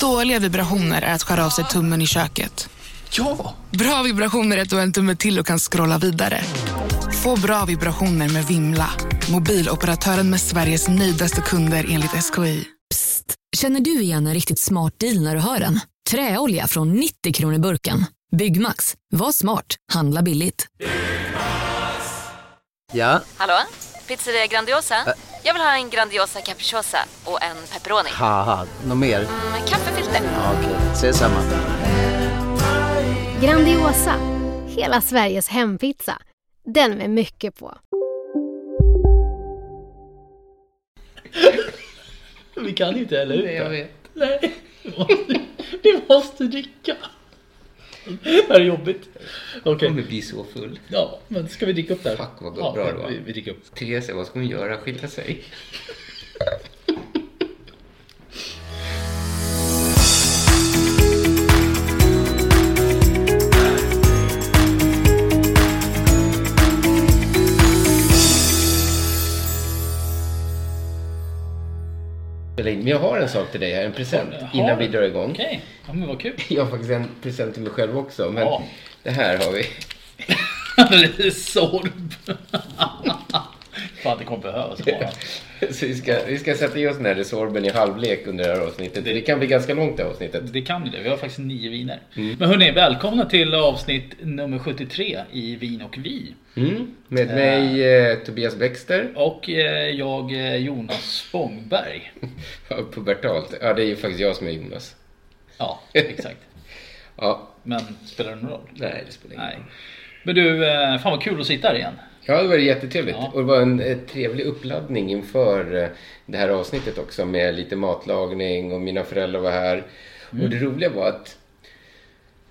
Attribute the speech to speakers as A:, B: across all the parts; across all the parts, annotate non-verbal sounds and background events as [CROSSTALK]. A: Dåliga vibrationer är att skära av sig tummen i köket.
B: Ja!
A: Bra vibrationer är att du har en tumme till och kan scrolla vidare. Få bra vibrationer med Vimla. Mobiloperatören med Sveriges nöjdaste kunder enligt SKI.
C: Psst! Känner du igen en riktigt smart deal när du hör den? Träolja från 90 kronor burken. Byggmax. Var smart. Handla billigt.
D: Ja,
E: Hallå? Pizzeria Grandiosa?
D: Ä-
E: Jag vill ha en Grandiosa capriciosa och en pepperoni.
D: haha, något mer?
E: Med kaffefilter.
D: Ja, Okej, ses samma.
F: Grandiosa, hela Sveriges hempizza. Den med mycket på.
B: Vi kan inte hälla ut
G: Jag
B: det.
G: vet.
B: Nej, vi måste, vi måste dricka. Det här är jobbigt. Okej,
G: Jag kommer bli så full.
B: ja, men ska vi dricka upp det här?
G: Fuck, vad bra det var.
B: Vi, vi dricker upp.
G: Therese, vad ska hon göra? Skilja sig? Eller, Men jag har en sak till dig här, en present
B: Har
G: innan
B: du?
G: vi drar igång.
B: Okej, ja men vad kul. [LAUGHS]
G: Jag har faktiskt en present till mig själv också, men
B: Ja.
G: det här har vi.
B: Det är sorb. Fan, det kommer behövas.
G: [LAUGHS]
B: bara.
G: Så vi ska, vi ska sätta i oss den här Resorben i halvlek under det här avsnittet. Det kan bli ganska långt det här avsnittet.
B: Det kan ju det. Vi har faktiskt nio viner.
G: Mm.
B: Men hörni, välkomna till avsnitt nummer 73 i Vin och vi.
G: Mm. Med mig eh, Tobias Bäckster.
B: Och eh, jag eh, Jonas Spångberg.
G: [LAUGHS] Ja, Pubertalt. Ja, det är ju faktiskt jag som är Jonas. [LAUGHS]
B: Ja, exakt.
G: Ja,
B: Men spelar det någon roll?
G: nej det spelar ingen
B: Nej.
G: roll.
B: Men du, eh, fan vad kul att sitta här igen.
G: Ja, det var jättetrevligt.
B: Ja.
G: Och det var en eh, trevlig uppladdning inför eh, det här avsnittet också med lite matlagning och mina föräldrar var här.
B: Mm.
G: Och det roliga var att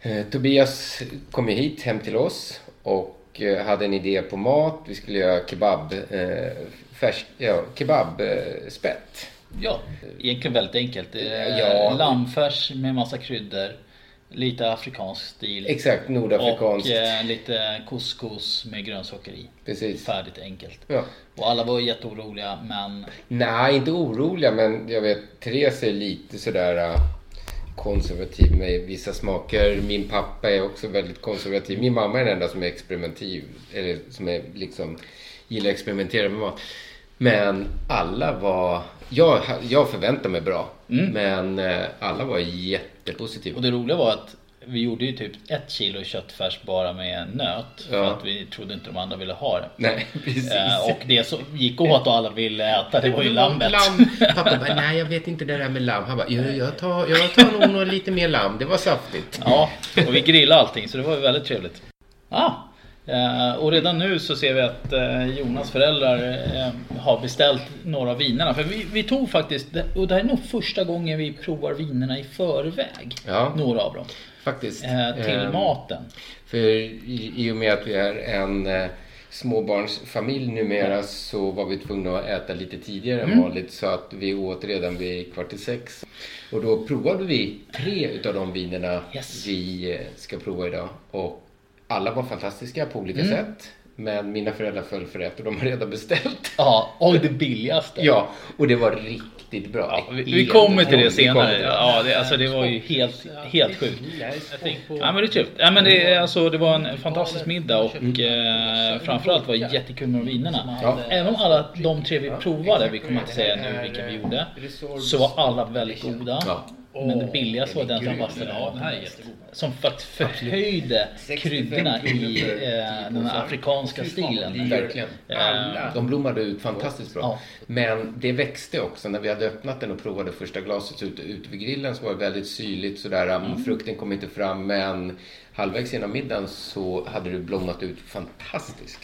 G: eh, Tobias kom ju hit hem till oss och eh, hade en idé på mat. Vi skulle göra kebab, eh, färs, ja, kebab eh, spett.
B: Ja, egentligen väldigt enkelt. Eh,
G: Ja.
B: Lammfärs med massa kryddor. Lite afrikansk stil.
G: Exakt, nordafrikanskt.
B: Och eh, lite couscous med grönsaker i.
G: Precis.
B: Färdigt enkelt.
G: Ja.
B: Och alla var jätteoroliga men
G: Nej, inte oroliga, men jag vet Therese är lite sådär eh, konservativ med vissa smaker. Min pappa är också väldigt konservativ. Min mamma är den enda som är experimentiv, eller som är liksom gillar att experimentera med mat. Men alla var... Jag, jag förväntade mig bra,
B: Mm.
G: men eh, alla var jättepositiva.
B: Och det roliga var att vi gjorde ju typ ett kilo köttfärs bara med nöt. För
G: Ja.
B: att vi trodde inte de andra ville ha det.
G: Nej, [LAUGHS] precis.
B: Eh, och det som gick åt och alla ville äta det var ju
G: Det var
B: lammet.
G: lamm. Pappa bara, nej jag vet inte det där med lamm. Han bara, jag, jag, tar, jag tar nog några lite mer lamm. Det var saftigt.
B: Ja, och vi grillade allting så det var ju väldigt trevligt. Ah, eh, och redan nu så ser vi att eh, Jonas föräldrar eh, har beställt några av vinerna. För vi, vi tog faktiskt, och det här är nog första gången vi provar vinerna i förväg.
G: Ja.
B: Några av dem.
G: Faktiskt.
B: Eh, till
G: Ehm,
B: maten.
G: För i, i och med att vi är en eh, småbarnsfamilj numera så var vi tvungna att äta lite tidigare
B: Mm.
G: än vanligt så att vi åt redan vid kvart i sex. Och då provade vi tre utav de vinerna
B: Yes.
G: vi eh, ska prova idag. Och alla var fantastiska på olika
B: Mm.
G: sätt. Men mina föräldrar föll för ett och de har redan beställt.
B: Ja, och det billigaste.
G: Ja, och det var riktigt bra.
B: Vi, vi
G: Helt
B: kommer till det
G: otroligt. Vi kommer
B: senare.
G: till det.
B: Ja, det, alltså, det var ju helt, helt sjukt. Ja, men det är trevligt. Ja, men det, är- alltså, det var en fantastisk middag och eh, framförallt var det jättekul med vinerna.
G: Ja.
B: Även om alla de tre vi provade, vi kommer inte säga nu vilka vi gjorde, så var alla väldigt goda.
G: Ja.
B: Men det billigaste var den som passade av mest. Som faktiskt förhöjde kryddorna i eh, den här afrikanska stilen.
G: Verkligen.
B: Alla.
G: Eh, De blommade ut fantastiskt bra.
B: Ja.
G: Men det växte också. När vi hade öppnat den och provade första glaset ute, ute vid grillen så var det väldigt syrligt. Sådär.
B: Mm.
G: Mm. Frukten kom inte fram men halvvägs innan middagen så hade det blommat ut fantastiskt.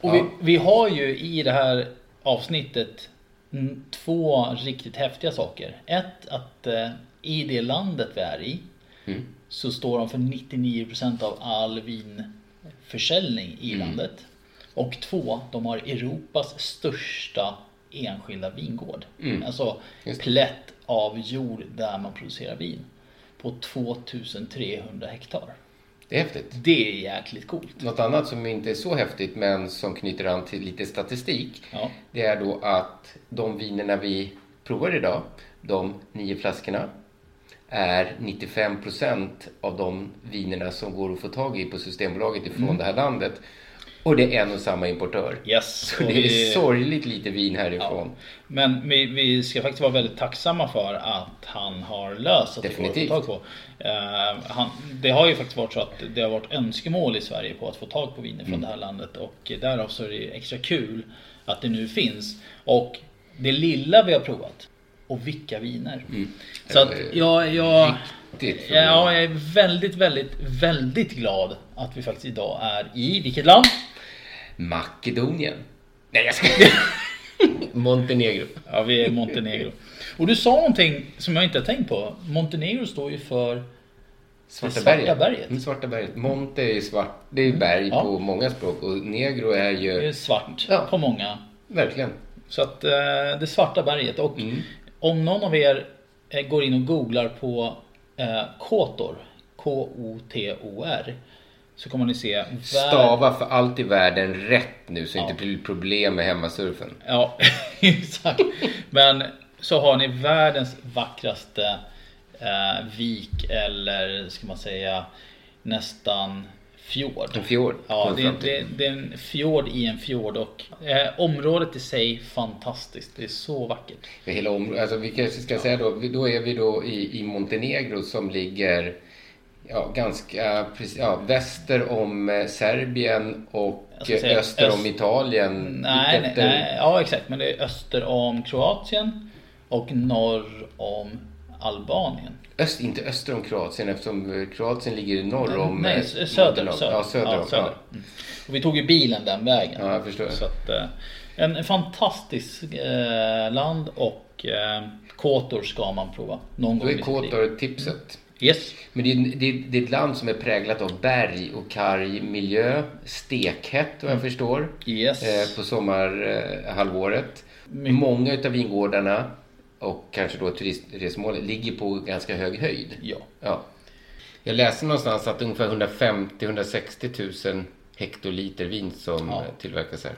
B: Och
G: Ja.
B: vi, vi har ju i det här avsnittet mm, två riktigt häftiga saker. Ett att eh, i det landet vi är i
G: Mm.
B: så står de för 99% av all vinförsäljning i
G: Mm.
B: landet. Och två, de har Europas största enskilda vingård. Alltså
G: Mm. Just det.
B: plätt av jord där man producerar vin. På 2300 hektar.
G: Det är häftigt.
B: Det är jäkligt coolt.
G: Något annat som inte är så häftigt men som knyter an till lite statistik.
B: Ja.
G: Det är då att de vinerna vi provar idag, de nio flaskorna, är 95% av de vinerna som går att få tag i på Systembolaget ifrån
B: Mm.
G: det här landet. Och det är en och samma importör.
B: Yes,
G: Så
B: och
G: det
B: vi-
G: är sorgligt lite vin härifrån.
B: Men vi, vi ska faktiskt vara väldigt tacksamma för att han har löst att det
G: Definitivt.
B: går att få tag på. Eh, han, det har ju faktiskt varit så att det har varit önskemål i Sverige på att få tag på viner från
G: Mm.
B: det här landet och därav så är det extra kul att det nu finns. Och det lilla vi har provat och vilka viner. Så att jag, jag,
G: Mm. Eh, Riktigt
B: ja, jag är väldigt, väldigt, väldigt glad att vi faktiskt idag är i vilket land?
G: Makedonien. Nej, jag skojar.
B: [LAUGHS]
G: Montenegro.
B: Ja, vi är i Montenegro. Och du sa någonting som jag inte har tänkt på. Montenegro står ju för...
G: Svarta,
B: Svarta
G: berget.
B: berget. Mm.
G: Mm, Svarta berget. Monte är ju svart. Det är ju berg
B: Ja.
G: på många språk och negro är
B: det är
G: ju
B: svart
G: Ja.
B: på många.
G: verkligen.
B: Så att eh, det svarta berget. Och om någon av er eh, går in och googlar på eh, Kotor, K-O-T-O-R, så kommer ni se... vär-
G: Stava för allt i världen rätt nu så det inte blir problem med hemmasurfen.
B: Ja, [LAUGHS] exakt. Men så har ni världens vackraste eh, vik eller ska man säga nästan fjord.
G: En fjord.
B: Ja,
G: kommer
B: det är,
G: fram till.
B: det, det är en fjord i en fjord och eh, området i sig fantastiskt. Det är så vackert.
G: För hela området. Alltså, vi kanske ska säga då, vi- då är vi då i, i Montenegro som ligger ja, ganska precis, ja, väster om eh, Serbien och
B: Jag ska
G: eh,
B: säga
G: öster om
B: öst-
G: Italien.
B: Nej, nej,
G: Utefter-
B: nej, ja exakt. Men det är öster om Kroatien och norr om Albanien.
G: Öst, inte öster om Kroatien eftersom eh, Kroatien ligger i norr om...
B: Mm. Nej,
G: eh,
B: s- söder.
G: Montenegro.
B: söder.
G: Ja, söder om.
B: söder. Mm. Och vi tog ju bilen den vägen.
G: Ja, jag förstår.
B: Så att, eh, en fantastisk eh, land och eh, Kotor ska man prova någon
G: Då
B: gång. i
G: är
B: sitt liv.
G: Kotor tipset.
B: Yes.
G: Men det är, det, är, det är ett land som är präglat av berg och karg miljö, stekhett vad jag förstår,
B: Yes.
G: eh, på sommarhalvåret. Många utav vingårdarna och kanske då turistresmålen ligger på ganska hög höjd.
B: Ja.
G: Ja. Jag läste någonstans att ungefär 150-160 000 hektoliter vin som
B: Ja.
G: eh, tillverkas här.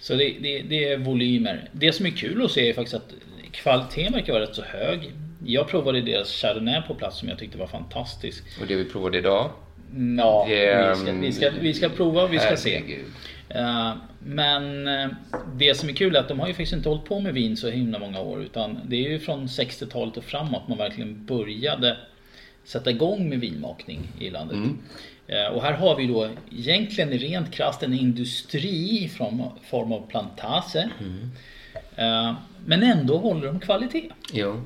B: Så det, det, det är volymer. Det som är kul att se är faktiskt att kvaliteten verkar vara rätt så hög. Jag provade deras Chardonnay på plats som jag tyckte var fantastisk.
G: Och det vi provade idag.
B: Mm, Ja,
G: det,
B: vi ska, vi, ska, vi ska prova, vi ska se.
G: Herregud.
B: Eh, Men eh, det som är kul är att de har ju faktiskt inte hållit på med vin så himla många år utan det är ju från 60-talet och framåt man verkligen började sätta igång med vinmakning i landet. Eh, Och här har vi då egentligen rent krasst en industri i form- form av plantage. Eh, Men ändå håller de kvalitet.
G: Ja,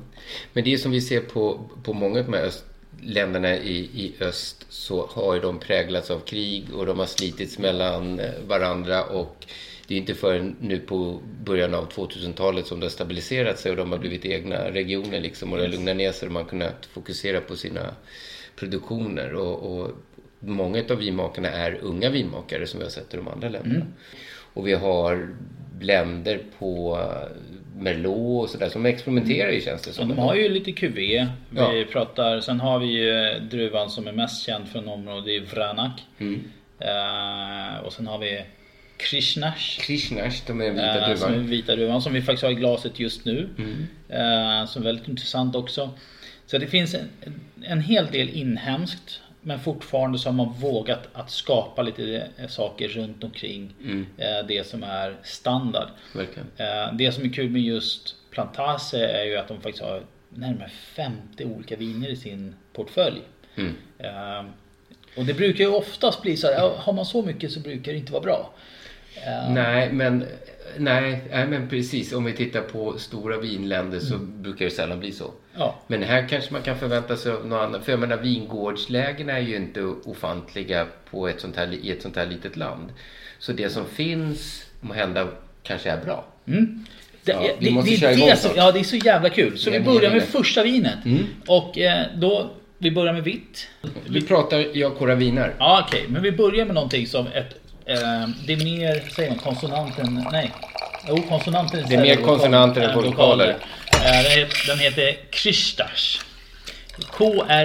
G: men det är som vi ser på, på många av de här öst, länderna i, i öst så har ju de präglats av krig och de har slitits mellan eh, varandra och det är inte förrän nu på början av 2000-talet som det har stabiliserat sig och de har blivit egna regioner liksom och det har lugnat ner sig och man har kunnat fokusera på sina produktioner och, och många av vinmakarna är unga vinmakare som vi har sett i de andra länderna. Och vi har blender på eh, Merlot och sådär som experimenterar i känns det
B: Så
G: som.
B: de har ju lite QV. Vi
G: Ja.
B: pratar, sen har vi ju eh, druvan som är mest känd från området, det är Vranak. Eh, och sen har vi Krishnash.
G: Krishnash, de är den
B: eh,
G: vita
B: som är den
G: duvan. Mm.
B: vita druvan som vi faktiskt har i glaset just nu. Eh, som är väldigt intressant också. Så det finns en, en hel del inhemskt. Men fortfarande så har man vågat att skapa lite eh, saker runt omkring eh, det som är standard.
G: Mm. Verkligen.
B: Eh, Det som är kul med just Plantage är ju att de faktiskt har närmare 50 olika viner i sin portfölj.
G: Mm.
B: Eh, Och det brukar ju oftast bli så här, ja, har man så mycket så brukar det inte vara bra.
G: Nej, men, nej, nej, men precis. Om vi tittar på stora vinländer så brukar det sällan bli så.
B: Ja.
G: Men här kanske man kan förvänta sig av något annat. För jag menar, vingårdslägen är ju inte ofantliga på ett sånt här, i ett sånt här litet land. Så det som finns må hända kanske är bra.
B: Det,
G: Ja,
B: det,
G: vi måste
B: det,
G: köra
B: är
G: igång
B: det som,
G: snart.
B: ja, det är så jävla kul. Så vi
G: Jag
B: börjar
G: menar
B: med
G: det. Mm.
B: första vinet. Och eh, då, vi börjar med vitt.
G: Vi pratar jag Cora Wiener.
B: Ja, okej, men vi börjar med någonting som ett... Eh, det är mer, säger man, konsonanten... Nej. Jo, konsonanter
G: Det är mer konsonanter än vokaler.
B: Eh, den het- Den heter Kristash.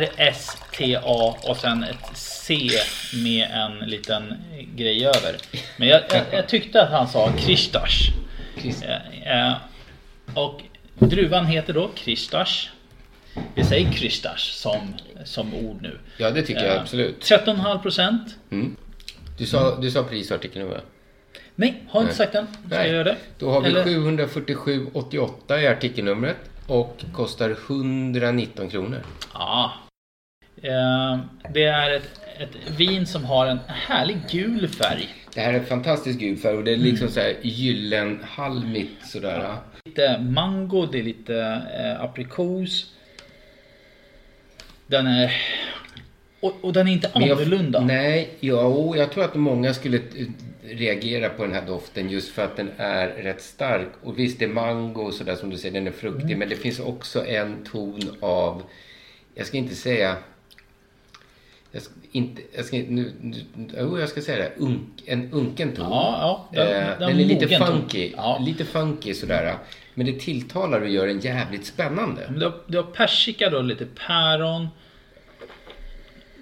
B: K-R-S-T-A och sen ett C med en liten grej över. Men jag, jag, jag tyckte att han sa Kristash.
G: Krist-
B: Eh, eh, och druvan heter då Kristash. Vi säger Kristasch som, som ord nu.
G: Ja, det tycker jag
B: Eh,
G: absolut.
B: 13,5 procent.
G: Du sa, du sa prisartikeln va?
B: Nej, har inte sagt den. Ska jag göra det?
G: Då har vi
B: Eller-
G: 747,88 i artikelnumret och kostar 119 kronor.
B: Ja. Eh, Det är ett, ett vin som har en härlig gul färg.
G: Det här är en fantastisk gul färg och det är liksom
B: Mm.
G: så här gyllenhalmigt sådär.
B: Lite mango, det är lite eh, aprikos. Den är... Och, och den är inte
G: Men jag-
B: annorlunda.
G: Nej, ja, och jag tror att många skulle eh, reagera på den här doften just för att den är rätt stark. Och visst, det är mango och sådär som du säger, den är fruktig.
B: Mm.
G: Men det finns också en ton av, jag ska inte säga, jag ska inte, jag ska, nu, nu, jo, jag ska säga det, unk, en unken ton.
B: Ja, ja, den-
G: Eh,
B: den
G: den, är lite
B: mogen ton.
G: funky,
B: Ja.
G: lite funky sådär. Men det tilltalar och gör den jävligt spännande.
B: Men Du har, du har persika, du har lite päron.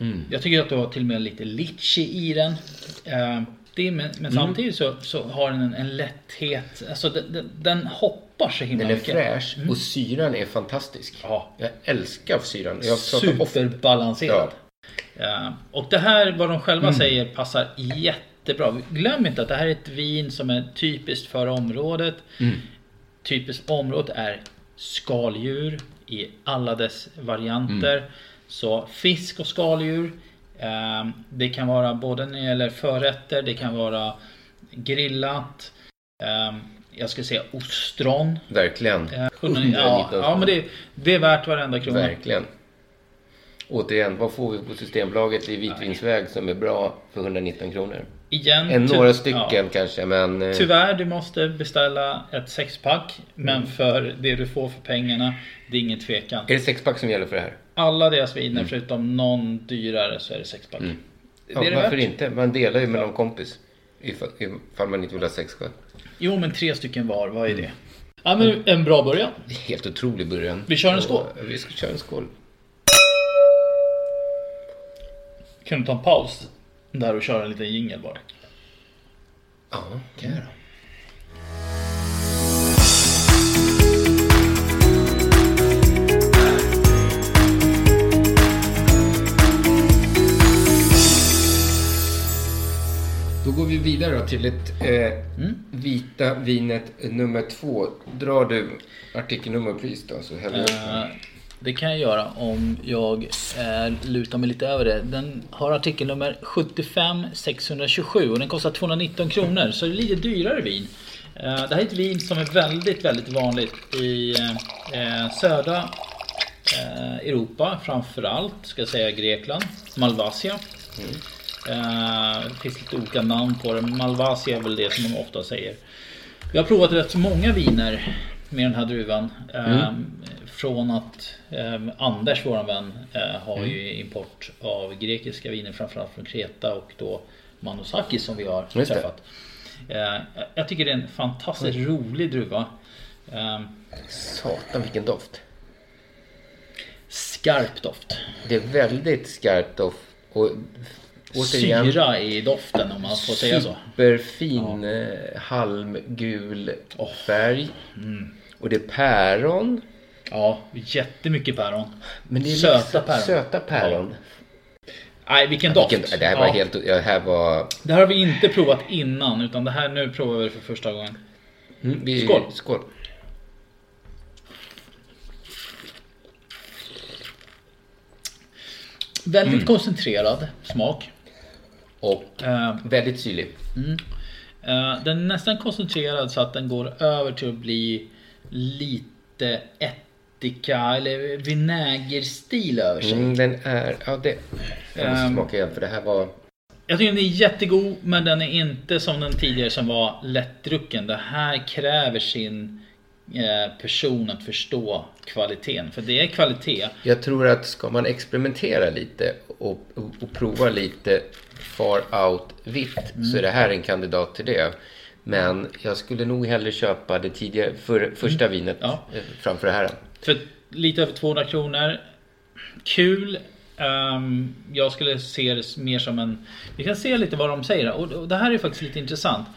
G: Mm.
B: Jag tycker att du har till och med lite litchi i den. Eh, det är, men men
G: Mm.
B: samtidigt så, så har den en, en lätthet. Alltså den, den, den hoppar så himla
G: Den är
B: mycket.
G: fräsch och syran är fantastisk.
B: Mm. Ja.
G: Jag älskar syran. Jag pratar ofta
B: Superbalanserad.
G: Ja.
B: Eh, och det här, vad de själva
G: Mm.
B: säger, passar jättebra. Glöm inte att det här är ett vin som är typiskt för området.
G: Mm.
B: Typiskt område är skaldjur i alla dess varianter.
G: Mm.
B: Så fisk och skaldjur. eh, Det kan vara både när det gäller förrätter, det kan vara grillat. eh, Jag skulle säga ostron.
G: Verkligen.
B: Eh, Ja, ja men det, det är värt varenda krona.
G: Verkligen. Återigen, vad får vi på Systembolaget i vitvinsväg som är bra för 119 kronor?
B: Igen,
G: En,
B: ty-
G: några stycken
B: Mm. Typ- ja.
G: kanske, men... eh,
B: Tyvärr, du måste beställa ett sexpack. Men för det du får för pengarna, det är ingen tvekan.
G: Är det sexpack som gäller för det här?
B: Alla deras viner förutom någon dyrare så är det sexpack. Det
G: Ja,
B: är det
G: varför
B: värt.
G: inte? Man delar ju med någon kompis. Ifall, ifall man inte vill ha sex själv.
B: Jo, men tre stycken var, vad är det? Ja, men en bra början.
G: Det är Helt otrolig början.
B: Vi kör en skål.
G: Och, eh, Vi ska köra en skål.
B: Kan du ta en paus där och köra en liten jingel bara?
G: Ja, kan jag göra. Då går vi vidare då till ett eh, vita vinet nummer två. Drar du artikelnummer och pris då så häller jag upp
B: Eh,
G: den.
B: Det kan jag göra om jag eh, lutar mig lite över det. Den har artikelnummer 75627 och den kostar 219 kronor. Så det är lite dyrare vin. Eh, Det här är ett vin som är väldigt, väldigt vanligt i eh, södra eh, Europa framförallt. Ska jag säga Grekland, Malvasia. Eh, Det finns lite olika namn på det. men Malvasia är väl det som man ofta säger. Jag har provat rätt så många viner med den här druvan.
G: Mm.
B: Ehm, Från att ehm, Anders, våran vän, eh, har
G: Mm.
B: ju import av grekiska viner framförallt från Kreta och då Manosaki som vi har
G: Just det. Mm.
B: träffat. Eh, Jag tycker det är en fantastiskt rolig druva. Ehm,
G: Satan vilken doft.
B: Skarp doft.
G: Det är väldigt skarpt doft. Och återigen,
B: Syra i doften om man får säga så.
G: Superfin eh, halmgul färg. Och det är päron.
B: Ja, jättemycket päron.
G: Men det är
B: söta
G: liksom-
B: päron.
G: Söta päron.
B: Nej, vilken doft.
G: Vilken, det här var
B: Ja.
G: helt... Det här var...
B: Det här har vi inte provat innan utan det här nu provar vi det för första gången.
G: Mm, vi,
B: Skål.
G: Skål.
B: Väldigt koncentrerad smak.
G: Och
B: Eh,
G: väldigt syrlig.
B: eh, den är nästan koncentrerad så att den går över till att bli lite ättika eller vinägerstil över sig.
G: Mm, den är... Ja, det... Jag måste
B: Ehm.
G: smaka igen för det här var...
B: Jag tycker den är jättegod men den är inte som den tidigare som var lättdrucken. Det här kräver sin eh, person att förstå kvaliteten. För det är kvalitet.
G: Jag tror att ska man experimentera lite och, och, och prova lite far out vitt så är det här en kandidat till det. Men jag skulle nog hellre köpa det tidigare, för, första vinet
B: Mm. Ja.
G: eh, framför det här.
B: För lite över 200 kronor. Kul. Ehm, jag skulle se det mer som en... Vi kan se lite vad de säger. Och, och det här är faktiskt lite intressant.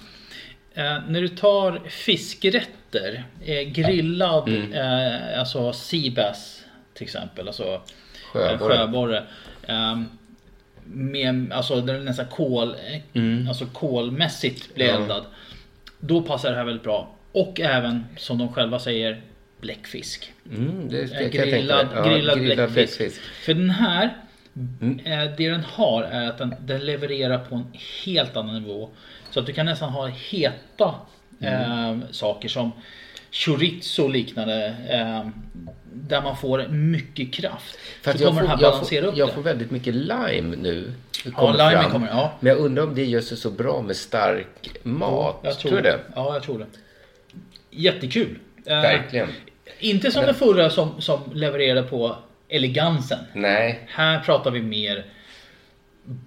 B: Eh, när du tar
G: Mm.
B: fiskrätter, eh, grillad, eh, alltså seabass till exempel. Alltså,
G: Sjöborre.
B: Sjöborre. Sjöborre. Ehm, med, alltså den är nästan kol, alltså kolmässigt blir
G: Mm. Ja.
B: eldad. Då passar det här väldigt bra. Och även som de själva säger bläckfisk.
G: Mm, det
B: Eh,
G: kan jag tänka
B: Grillad,
G: mig. Ja,
B: grillad,
G: grillad Mm.
B: bläckfisk.
G: bläckfisk.
B: För den här, eh, det den har är att den, den levererar på en helt annan nivå. Så att du kan nästan ha heta
G: Mm.
B: eh, saker som chorizo och liknande. Eh, där man får mycket kraft.
G: För att
B: så kommer den här balansera
G: jag
B: upp
G: får, jag
B: det.
G: får väldigt mycket lime nu.
B: limen kommer, ja.
G: Men jag undrar om det gör sig så bra med stark mat.
B: Jag
G: tror, du det.
B: Ja, jag tror det. Jättekul. Eh,
G: Verkligen.
B: Inte som den förra som, som levererade på elegansen.
G: Nej.
B: Här pratar vi mer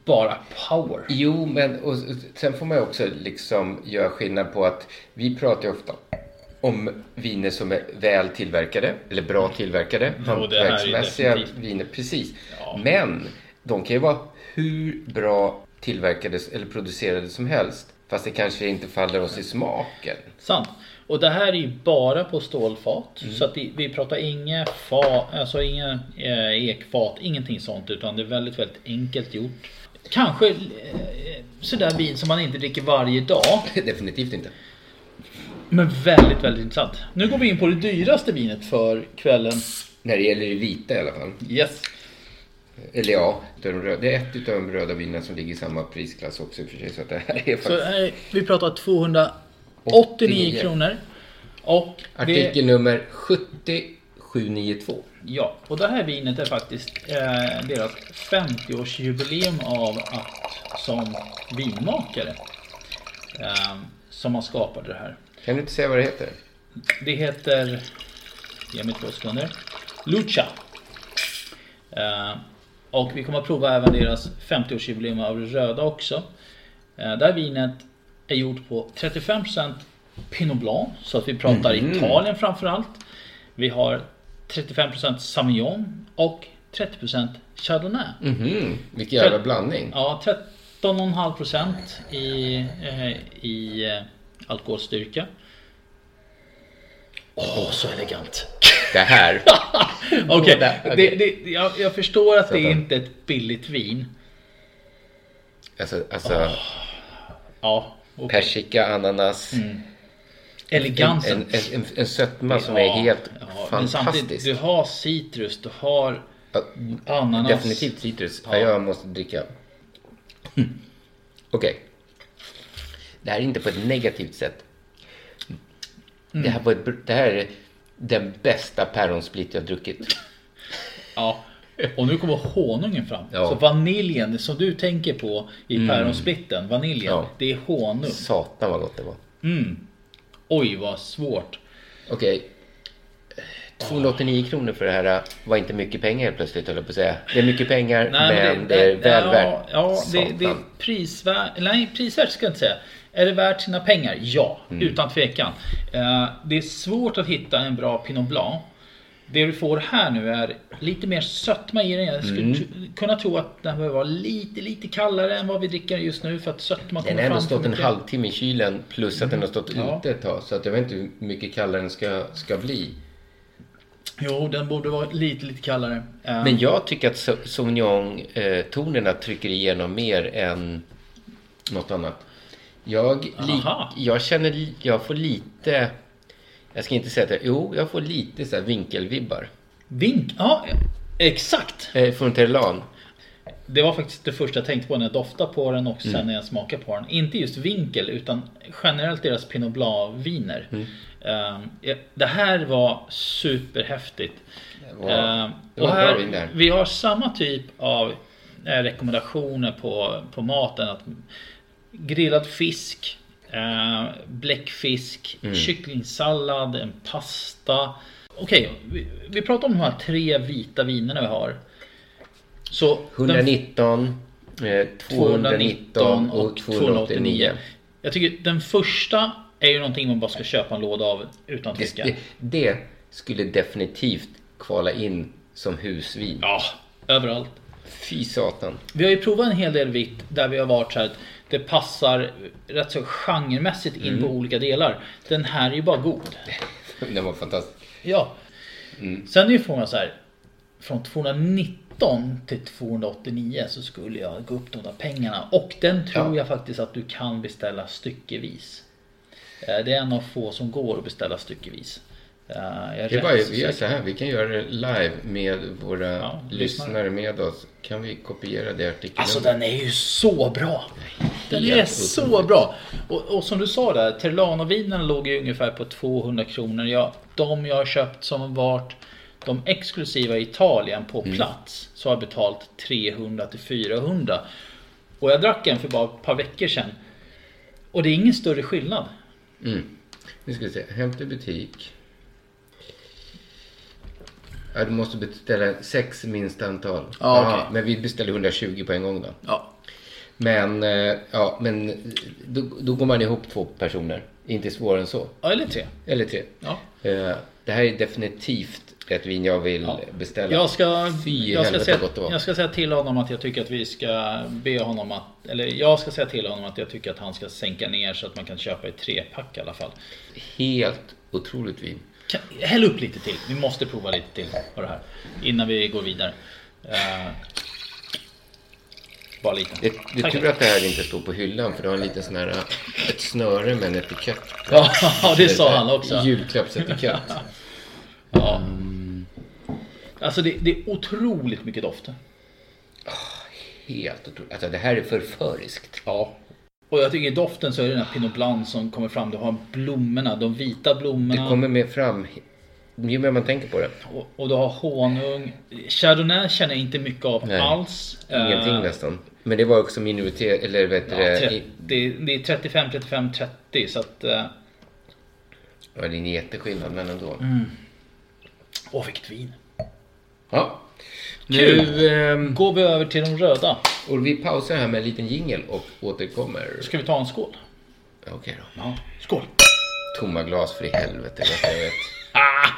B: bara power.
G: Jo, men och, och, sen får man ju också liksom göra skillnad på att vi pratar ju ofta om viner som är väl tillverkade eller bra tillverkade.
B: Mm. det här är ju
G: Hantverksmässiga
B: definitivt.
G: viner, precis.
B: Ja.
G: Men de kan ju vara hur bra tillverkade eller producerade som helst. Fast det kanske inte faller oss i smaken.
B: Sant. Och det här är ju bara på stålfat. Så att vi, vi pratar inga, fa, alltså inga eh, ekfat, ingenting sånt. Utan det är väldigt, väldigt enkelt gjort. Kanske eh, sådär vin som man inte dricker varje dag.
G: Definitivt inte.
B: Men väldigt, väldigt intressant. Nu går vi in på det dyraste vinet för kvällen.
G: När det gäller det vita i alla fall.
B: Yes.
G: Eller ja, det är de röda- det är ett utav de röda vinerna som ligger i samma prisklass också i och för sig. Så att det här är
B: Så
G: faktiskt...
B: här, vi pratar 289
G: 89.
B: kronor. Och det,
G: Artikel nummer 7792.
B: ja, och det här vinet är faktiskt eh, deras 50-årsjubileum av att som vinmakare. Eh, som man skapade det här.
G: Kan du inte säga vad det heter?
B: Det heter... Ge mig två sekunder. Lucha. Eh, och vi kommer att prova även deras 50-årsjubileum av det röda också. Eh, det här vinet är gjort på 35% Pinot Blanc, så att vi pratar Italien framförallt. Vi har 35% Sauvignon och 30% Chardonnay.
G: Mhm, vilken jävla
B: För-
G: blandning.
B: Mm. Ja, 13,5% i, eh, i eh, alkoholstyrka. Åh, så elegant!
G: Det här.
B: [LAUGHS] Okej,
G: där, okej.
B: det, det, jag, jag förstår att det är
G: Vänta.
B: inte är ett billigt vin.
G: Alltså, alltså
B: Ja, och
G: persika, ananas.
B: Mm.
G: En,
B: elegansen.
G: en, en, en sötma som är
B: Ja,
G: helt
B: ja, men samtidigt,
G: fantastisk.
B: du har citrus, du har
G: Ja,
B: ananas.
G: Definitivt citrus. Ja. Jag
B: [LAUGHS]
G: måste dricka. Okej. Det här är inte på ett negativt sätt.
B: Mm.
G: Det, här var ett, br- det här är den bästa päronsplit jag druckit.
B: Ja. Och nu kommer honungen fram.
G: Ja. Mm.
B: Så vaniljen som du tänker på i päronsplitten, vaniljen,
G: Ja.
B: det är honung.
G: Satan vad gott det var.
B: Oj vad svårt.
G: Okej. 289 kronor för det här äh, var inte mycket pengar helt plötsligt höll jag på att säga. Det är mycket pengar men, det, är väl
B: äh, ja,
G: värt.
B: Ja, det,
G: Satan.
B: det är prisvärt. Nej, prisvärt ska jag inte säga. Är det värt sina pengar? Ja,
G: Mm.
B: utan tvekan. Eh, det är svårt att hitta en bra Pinot Blanc. Det du får här nu är lite mer sötma i den. Jag skulle
G: Mm.
B: t- kunna tro att den behöver vara lite, lite kallare än vad vi dricker just nu för att sötma kommer
G: Den har ändå
B: fram för
G: stått en
B: mycket. Mm,
G: halvtimme i kylen plus att den har stått
B: Ja.
G: ute ett tag. Så att jag vet inte hur mycket kallare den ska, ska bli.
B: Jo, den borde vara lite, lite kallare. Eh,
G: Men jag tycker att Sau- Sauvignon-tonerna trycker igenom mer än något annat. Jag, li,
B: Aha.
G: jag känner, li- jag får lite, jag ska inte säga att jag, jo, jag får lite så här vinkelvibbar.
B: Vink, ja, exakt.
G: Eh, Funterlan.
B: Det var faktiskt det första jag tänkte på när jag doftade på den och sen när jag smakade på den. Inte just vinkel utan generellt deras Pinot Blanc-viner. Ehm, ja, det här var superhäftigt.
G: var-
B: Ehm,
G: det var
B: och
G: en bra
B: här,
G: vin där.
B: Vi har samma typ av eh, rekommendationer på, på maten. Att grillad fisk, eh, bläckfisk, kycklingsallad, en pasta. Okej, vi, vi pratar om de här tre vita vinerna vi har. Så den
G: 119, eh, 219 och 289.
B: Jag tycker den första är ju någonting man bara ska köpa en låda av utan
G: Det,
B: tvekan.
G: det, det skulle definitivt kvala in som husvin.
B: Ja, överallt.
G: Fy satan.
B: Vi har ju provat en hel del vitt där vi har varit så här att det passar rätt så genremässigt in på
G: Mm.
B: olika delar. Den här är ju bara god.
G: Den var fantastisk. Mm.
B: Ja. Sen är ju frågan så här. från 219 till 289 så skulle jag gå upp de där pengarna. Och den tror
G: Ja.
B: jag faktiskt att du kan beställa styckevis. Eh, Det är en av få som går att beställa styckevis. Eh, Jag är
G: Det är
B: rätt
G: bara,
B: så
G: vi gör
B: säker.
G: så här, vi kan göra det live med våra
B: Ja, lyssnare.
G: lyssnare med oss. Kan vi kopiera det artikeln?
B: Alltså den är ju så bra! Den är
G: Helt
B: så
G: otroligt.
B: bra! Och, och som du sa där, Terlanovinen låg ju ungefär på 200 kronor. Ja, de jag har köpt som varit de exklusiva i Italien på plats så har jag betalat 300 till 400. Och jag drack en för bara ett par veckor sedan. Och det är ingen större skillnad.
G: Nu ska vi se, hämta i butik. Ja, du måste beställa sex minst antal.
B: Ja,
G: Aha,
B: okej.
G: Men vi beställer 120 på en gång då.
B: Ja.
G: Men, eh, ja, men då, då går man ihop två personer. Inte svårare än så.
B: Eller tre.
G: Eller tre.
B: Ja.
G: Eh, Det här är definitivt ett vin jag vill beställa.
B: Jag ska,
G: Fy
B: jag, ska
G: helvete
B: säga,
G: gott det var.
B: jag ska säga till honom att jag tycker att vi ska be honom att... Eller jag ska säga till honom att jag tycker att han ska sänka ner så att man kan köpa i trepack i alla fall.
G: Helt otroligt vin.
B: Kan, häll upp lite till. Vi måste prova lite till på det här. Innan vi går vidare. Eh, bara lite.
G: Det, det är tur att det här inte står på hyllan för det har en liten sån här, eh, ett snöre med en etikett.
B: [LAUGHS] Ja, det sa han också.
G: Julklappsetikett.
B: Ja. Alltså det, det är otroligt mycket doft.
G: Helt otroligt. Alltså det här är förföriskt.
B: Ja. Och jag tycker i doften så är det den här Pinot Blanc som kommer fram. Du har blommorna, de vita blommorna.
G: Det kommer mer fram ju mer man tänker på det.
B: Och, och du har honung. Chardonnay känner jag inte mycket av
G: Nej.
B: alls.
G: Ingenting
B: Eh,
G: nästan. Men det var också minoritet, eller vet du
B: ja,
G: det?
B: tre,
G: i-
B: det, det är 35, 35, 30 så att... eh,
G: Ja, det är en jätteskillnad men ändå.
B: Åh vilket vin!
G: Ja.
B: Kul.
G: Nu ehm,
B: Går vi över till de röda.
G: och vi pausar här med en liten jingel och återkommer.
B: Ska vi ta en skål?
G: Okej då.
B: Ja. Skål!
G: Tomma glas för i helvete. vad Jag [LAUGHS] vet. Ah!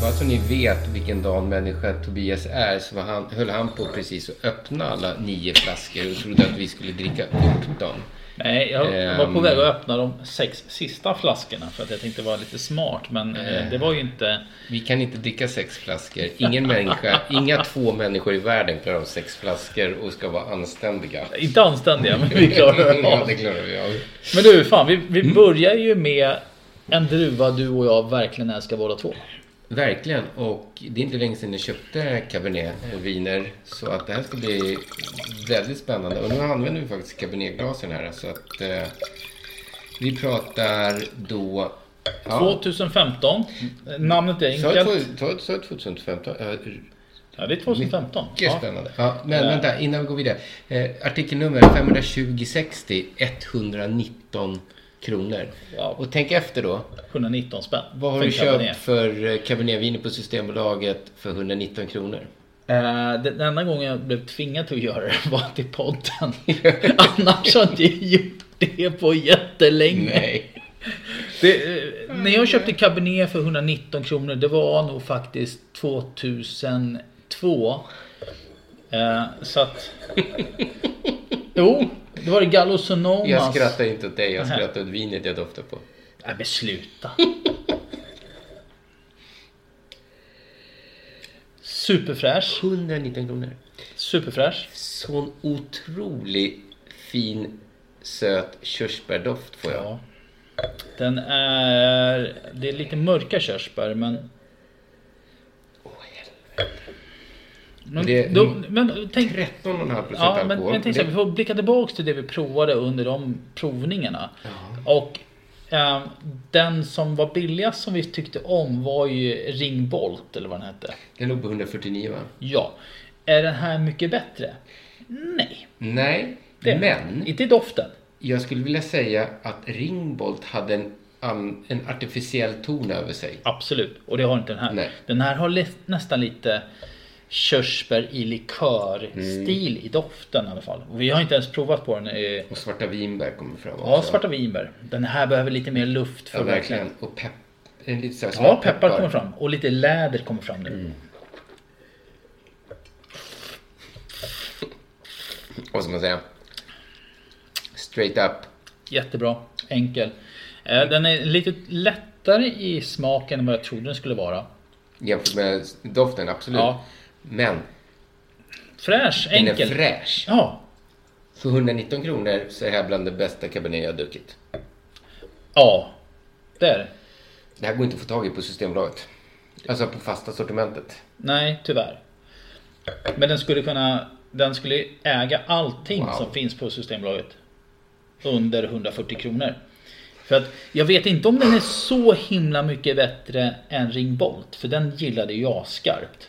G: Bara så ni vet vilken dan människa Tobias är så var han, höll han på precis att öppna alla nio flaskor och trodde att vi skulle dricka upp dem.
B: Nej, jag var på
G: Ehm.
B: väg att öppna de sex sista flaskorna för att jag tänkte vara lite smart men
G: Ehm.
B: eh, det var ju inte...
G: Vi kan inte dricka sex flaskor. Ingen människa, inga två människor i världen klarar av sex flaskor och ska vara anständiga. Mm,
B: Inte anständiga men vi klarar
G: [LAUGHS] Ja,
B: av
G: det klarar vi av.
B: Men du fan, vi, vi börjar ju med en druva du och jag verkligen älskar båda två.
G: Verkligen, och det är inte länge sedan jag köpte cabernetviner så att det här ska bli väldigt spännande. Och nu använder vi faktiskt cabernetglasen här så att eh, vi pratar då... Ja,
B: 2015. Namnet är
G: sa jag
B: enkelt.
G: två- sa jag- sa jag 2015? Ja,
B: Ja, det är 2015.
G: Mycket
B: Ja.
G: spännande. Ja, men vänta, innan vi går vidare. Eh, artikelnummer 52060 119 kronor.
B: Ja.
G: Och tänk efter då.
B: 119 spänn.
G: Vad har
B: för
G: du
B: en Cabernet.
G: köpt för eh, cabernetviner på Systembolaget för 119 kronor?
B: Eh, Den enda gången jag blev tvingad till att göra det var till
G: [LAUGHS]
B: podden. Annars har jag inte gjort det på jättelänge. Det, eh, när jag köpte Cabernet för 119 kronor, det var nog faktiskt 2002. Eh, så att...
G: [LAUGHS]
B: Jo, det var det Gallo Sonomas.
G: Jag skrattar inte åt dig, jag skrattar åt vinet jag doftar på.
B: Nej men sluta. Superfräsch.
G: 119 kronor.
B: Superfräsch.
G: Sån otrolig fin söt körsbärdoft får jag.
B: Ja. Den är... Det är lite mörka körsbär men... Men,
G: Det-
B: då, men tänk,
G: 13,5 procent
B: ja, men,
G: alkohol.
B: men tänk så här, vi
G: det,
B: får blicka tillbaks till det vi provade under de provningarna. Och ehm, den som var billigast som vi tyckte om var ju Ringbolt eller vad den hette.
G: det låg på 149 va?
B: Ja. Är den här mycket bättre? Nej.
G: Nej,
B: Det är
G: men
B: Inte i doften.
G: jag skulle vilja säga att Ringbolt hade en, an- en artificiell ton över sig.
B: Absolut. Och det har inte den här.
G: Nej.
B: Den här har lä- nästan lite körsbär i likörstil
G: Mm.
B: i doften i alla fall. Och vi har inte ens provat på den. eh,
G: Och svarta vinbär kommer fram också.
B: Ja, svarta vinbär. Den här behöver lite mer luft för
G: Ja,
B: att
G: verkligen. Och pepp. En lite så här
B: Ja,
G: svart
B: peppar kommer fram. Och lite läder kommer fram nu.
G: Mm. Vad ska man säga? straight up.
B: Jättebra, enkel. Eh, Den är lite lättare i smaken än vad jag trodde den skulle vara.
G: Jämfört med doften, absolut.
B: Ja.
G: Men
B: Fräsch,
G: den
B: enkel.
G: är fräsch.
B: Ja,
G: För 119 kronor så är det här bland det bästa cabernet jag har druckit.
B: ja. Det är det.
G: Det här går inte att få tag i på Systembolaget. Alltså på fasta sortimentet.
B: Nej, tyvärr. Men den skulle kunna, den skulle äga allting
G: Wow.
B: som finns på Systembolaget. Under 140 kronor. För att jag vet inte om den är så himla mycket bättre än Ringbolt. För den gillade jag skarpt.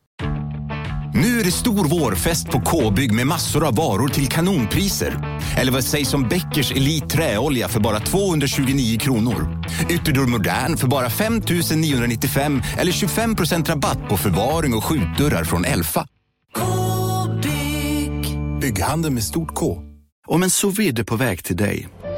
H: Nu är det stor vårfest på K-bygg med massor av varor till kanonpriser. Eller vad sägs om Bäckers Elite Träolja för bara 229 kronor? Ytterdörr Modern för bara 5 995 eller 25 rabatt på förvaring och skjutdörrar från Elfa. K-bygg. Bygghandeln med stort K.
I: Om en sous vide är på väg till dig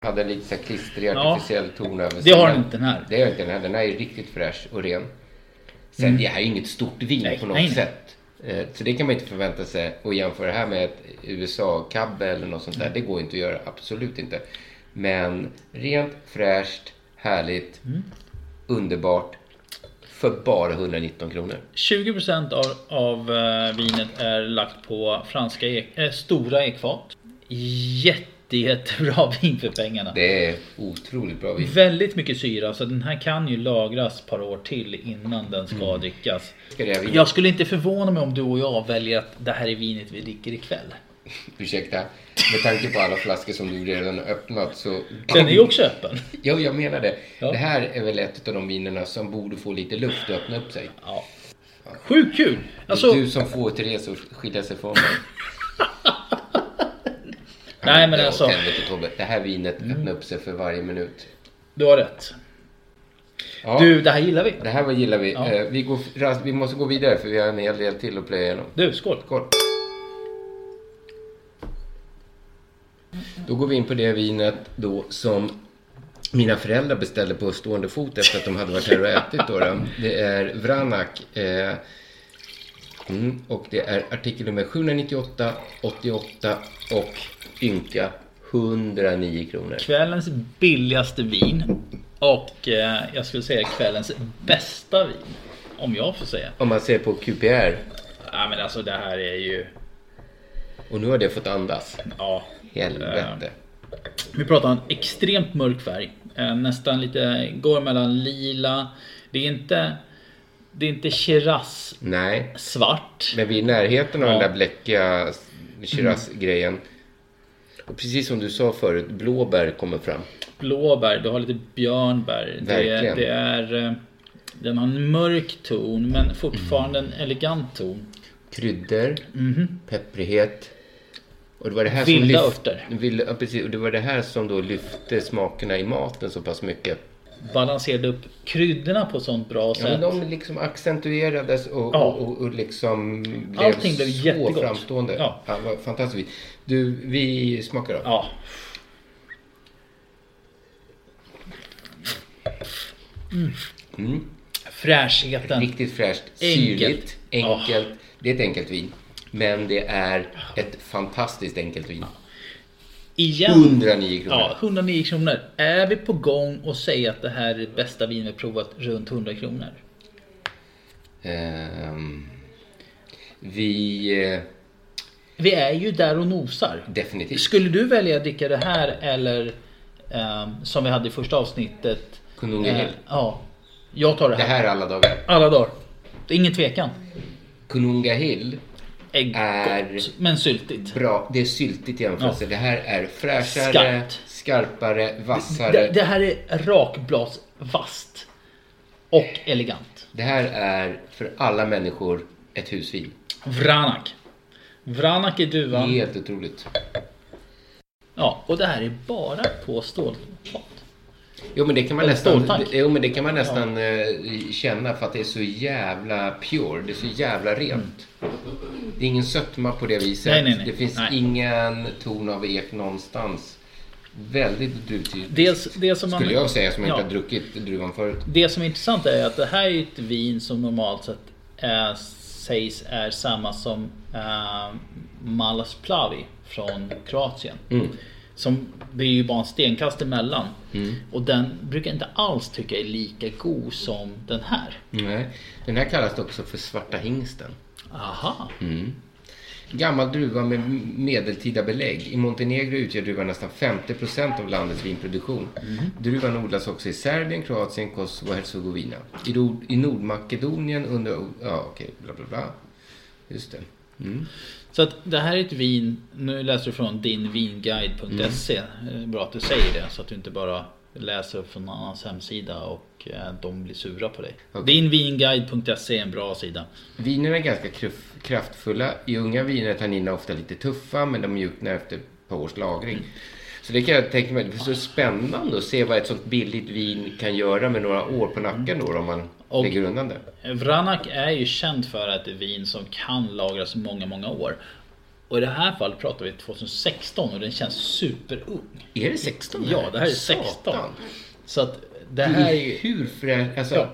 G: hade lite så här klistrig
B: Ja.
G: artificiell ton över sig.
B: Det har den
G: Men
B: inte den här.
G: Det har inte den här. Den här är riktigt fräsch och ren. Sen det här är inget stort vin
B: Mm. Nej,
G: på något
B: nej, nej.
G: sätt. Eh, Så det kan man inte förvänta sig. Och jämföra det här med ett USA-kabbe eller något sånt där.
B: Mm.
G: Det går inte att göra. Absolut inte. Men rent, fräscht, härligt,
B: Mm.
G: underbart. För bara 119 kronor.
B: 20% av, av eh, vinet är lagt på franska ek, eh, stora ekfat. Jätte, jättebra vin för pengarna.
G: Det är otroligt bra vin.
B: Väldigt mycket syra så den här kan ju lagras ett par år till innan den Mm. ska drickas.
G: Ska det här vinet-
B: Jag skulle inte förvåna mig om du och jag väljer att det här är vinet vi dricker ikväll.
G: Ursäkta, med tanke på alla flaskor som du redan har öppnat så...
B: Den är ju också öppen.
G: Ja, jag menar det.
B: Ja.
G: Det här är väl ett av de vinerna som borde få lite luft och öppna upp sig.
B: Ja. Sjukt kul! Alltså,
G: Du som får Therese att skilja sig från mig.
B: [LAUGHS] nej men
G: Ja,
B: alltså, Mm.
G: helvete, Tobbe. Det här vinet öppnar upp sig för varje minut.
B: du har rätt.
G: Ja,
B: Du, det här gillar vi.
G: Det här vad gillar vi.
B: Ja.
G: Eh, Vi, går, ras- vi måste gå vidare för vi har en hel del till att plöja igenom.
B: Du, skål!
G: Skål! Då går vi in på det vinet då som mina föräldrar beställde på stående fot efter att de hade varit här och ätit. Då, då. Det är Vranak. Eh, mm, och det är artikel nummer 798, 88 och ynka 109 kronor.
B: Kvällens billigaste vin och eh, jag skulle säga kvällens bästa vin. Om jag får säga.
G: Om man ser på QPR.
B: Nej men alltså det här är ju,
G: Och nu har det fått andas.
B: ja.
G: Helvete.
B: Vi pratar om en extremt mörk färg. Eh, Nästan lite, går mellan lila. Det är inte, det är inte Shiraz
G: Nej.
B: svart.
G: Men vi är i närheten av
B: Ja.
G: den där bläckiga Shiraz-grejen. Och precis som du sa förut, blåbär kommer fram.
B: Blåbär, du har lite björnbär. Det,
G: Verkligen.
B: det är, eh, den har en mörk ton men fortfarande en elegant ton.
G: Kryddor, pepprighet. Och det var det här
B: Mhm. Vilda
G: som
B: örter.
G: Vilda, ja, precis, och det var det här som då lyfte smakerna i maten så pass mycket.
B: Balanserade upp kryddorna på ett sånt bra
G: Ja, men
B: sätt.
G: de liksom accentuerades och,
B: Ja.
G: och, och, och liksom blev
B: Allting blev
G: så
B: jättegott.
G: framstående.
B: Ja.
G: Ja. vad fantastiskt. Du, vi smakar då.
B: Ja. Fräschheten.
G: Mm. Riktigt fräscht,
B: Enkelt. Ah.
G: syrligt, enkelt. Det är ett enkelt vin. Men det är ett fantastiskt enkelt vin.
B: Igen.
G: 109 kronor.
B: Ja, 109 kronor. Är vi på gång och säga att det här är det bästa vin vi provat runt 100 kronor?
G: Ehm, vi... eh,
B: Vi är ju där och nosar.
G: Definitivt.
B: Skulle du välja att dricka det här eller ehm, som vi hade i första avsnittet
G: Konungahill.
B: Eh, ja. Jag tar det
G: Det
B: här.
G: här alla dagar.
B: Alla dagar. Det är ingen tvekan.
G: Konungahill
B: Ägg
G: Är-
B: gott, men syltigt.
G: Bra, det är syltigt i jämförelse. Det här är fräschare,
B: Skarpt.
G: skarpare, vassare.
B: Det,
G: Det,
B: det här är rakblas, vasst och elegant.
G: här är för alla människor ett husvin.
B: Vranak. Vranak är duvan.
G: Helt otroligt.
B: Ja, och det här är bara på stålfat.
G: Jo men det kan man
B: Ett
G: nästan,
B: ståltank.
G: jo, men det kan man nästan eh, känna för att det är så jävla pure. Det är så jävla rent. Det är ingen sötma på det viset.
B: Nej, nej, nej.
G: Det finns
B: Nej.
G: ingen ton av ek någonstans. Väldigt druvtypiskt.
B: Dels det som man...
G: Skulle jag säga som
B: Ja.
G: inte har druckit druvan förut.
B: Det som är intressant är att det här är ett vin som normalt sett eh, sägs är samma som eh, Malas Plavi från Kroatien.
G: Mm.
B: Som, det är ju bara en stenkast emellan.
G: Mm.
B: Och den brukar jag inte alls tycka är lika god som den här.
G: Nej. Den här kallas också för svarta hingsten.
B: Aha,
G: Gammal druva med medeltida belägg. I Montenegro utgör druvan nästan 50% av landets vinproduktion. Druvan odlas också i Serbien, Kroatien, Kosovo och Herzegovina. I, Nord- I Nordmakedonien under... Ja, okej, bla bla bla. Just det.
B: Så att det här är ett vin, nu läser du från dinvinguide.se.
G: Mm.
B: Eh, Bra att du säger det så att du inte bara läser från någon annans hemsida och eh, de blir sura på dig. Dinvinguide.se är en bra sida.
G: Vinerna är ganska kruf- kraftfulla. I unga viner är tanninerna ofta lite tuffa, men de mjuknar efter ett par års lagring. Så det kan jag tänka mig, det är så spännande att se vad ett sånt billigt vin kan göra med några år på nacken då, om man
B: Och-
G: lägger undan det.
B: Vranak är ju känd för att det är vin som kan lagras många, många år. Och i det här fallet pratar vi 2016 och den känns superung.
G: Är det 16?
B: Ja, det här är 16.
G: Satan.
B: Så att det
G: Det här
B: här
G: är
B: är ju...
G: hur fräscht. Alltså,
B: Ja.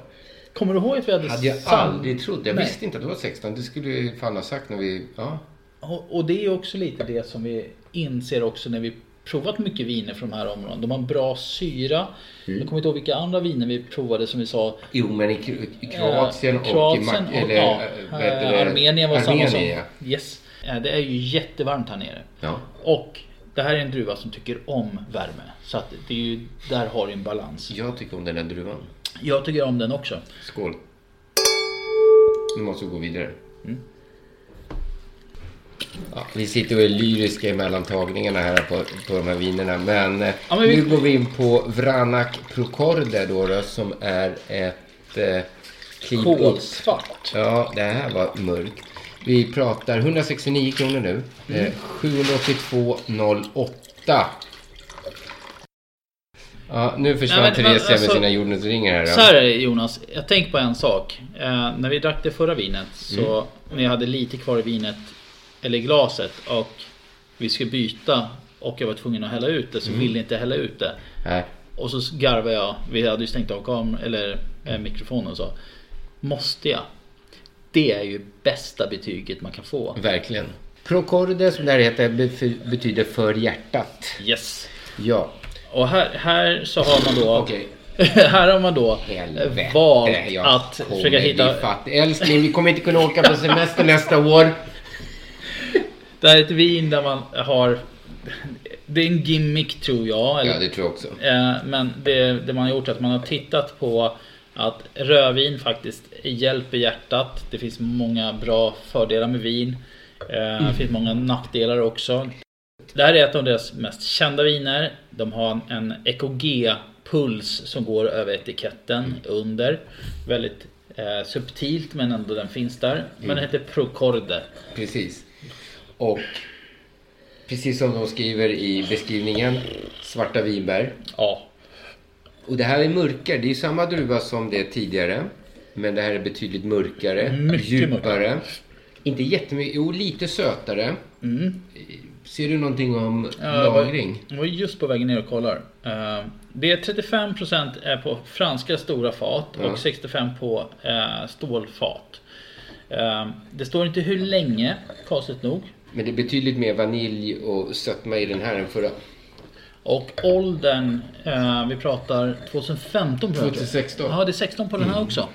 B: Kommer du ihåg att vi hade,
G: hade jag
B: sam-
G: aldrig trott. Jag
B: Nej.
G: visste inte att det var 16. Det skulle ju fan ha sagt när vi... Ja.
B: Och och det är också lite det som vi inser också när vi provat mycket viner från de här områdena. De har en bra syra.
G: Mm.
B: Jag kommer inte ihåg vilka andra viner vi provade som vi sa.
G: Jo, men i, Kro- i Kroatien
B: Eh,
G: och i
B: Kroatien
G: Mak-
B: och,
G: eller,
B: ja,
G: eh, vad heter det?
B: eh, Armenien var samma som.
G: Armenien,
B: Yes. Eh, Det är ju jättevarmt här nere.
G: Ja.
B: Och det här är en druva som tycker om värme. Så att det är ju, där har du en balans.
G: Jag tycker om den där druvan.
B: Jag tycker om den också.
G: Skål. Nu måste vi gå vidare.
B: Mm.
G: Ja, vi sitter och är lyriska mellan tagningarna här på, på de här vinerna. Men, eh,
B: Ja, men vi-
G: nu går vi in på Vranak Procorde då, då som är ett eh, kliv upp.
B: Kolsvart.
G: Ja, det här var mörkt. Vi pratar 169 kronor nu.
B: Mm.
G: Eh, 782,08. Ja, nu försvann
B: Nej, men- men,
G: Theresia med
B: alltså,
G: sina jordnötsringar här.
B: Så här är det Jonas, jag tänkte på en sak. Eh, när vi drack det förra vinet så
G: Mm.
B: när jag hade lite kvar i vinet eller i glaset och vi skulle byta och jag var tvungen att hälla ut det så
G: Mm.
B: ville jag inte hälla ut det.
G: Nej.
B: Och så garvade jag, vi hade ju stängt av kameran eller eh, mikrofonen och så. Måste jag? Det är ju bästa betyget man kan få.
G: Verkligen. Procorde som det här heter bef- betyder för hjärtat.
B: Yes!
G: Ja.
B: Och här, här så har man då
G: Okej.
B: [LAUGHS] Här har man då
G: Helvete.
B: valt
G: jag
B: att
G: kommer
B: försöka
G: bli
B: hitta
G: fattig. Älskling, vi kommer inte kunna åka på semester nästa år.
B: Det här är ett vin där man har... Det är en gimmick tror jag. Eller,
G: Ja, det tror jag också.
B: eh, men det, det man har gjort är att man har tittat på att rödvin faktiskt hjälper hjärtat. Det finns många bra fördelar med vin. Eh, Det finns många nackdelar också. Det här är ett av deras mest kända viner. De har en, en EKG-puls som går över etiketten
G: Mm.
B: under. Väldigt eh, subtilt men ändå den finns där. Men
G: Mm.
B: den heter Procorde.
G: Precis. Och precis som de skriver i beskrivningen, svarta vinbär.
B: Ja,
G: Och det här är mörkare. Det är ju samma druva som det tidigare. Men det här är betydligt mörkare.
B: Mycket
G: djupare. Inte jättemycket. Jo, lite sötare.
B: Mm.
G: Ser du någonting om
B: jag var-
G: lagring?
B: Jag var just på vägen ner och kollar. Eh, Det är 35% är på franska stora fat och 65% på eh, stålfat. Eh, Det står inte hur länge, konstigt nog.
G: Men det är betydligt mer vanilj och sötma i den här än förra.
B: Och åldern, eh, vi pratar 2015 tror jag.
G: 2016.
B: Ja, det är 16 på den här också.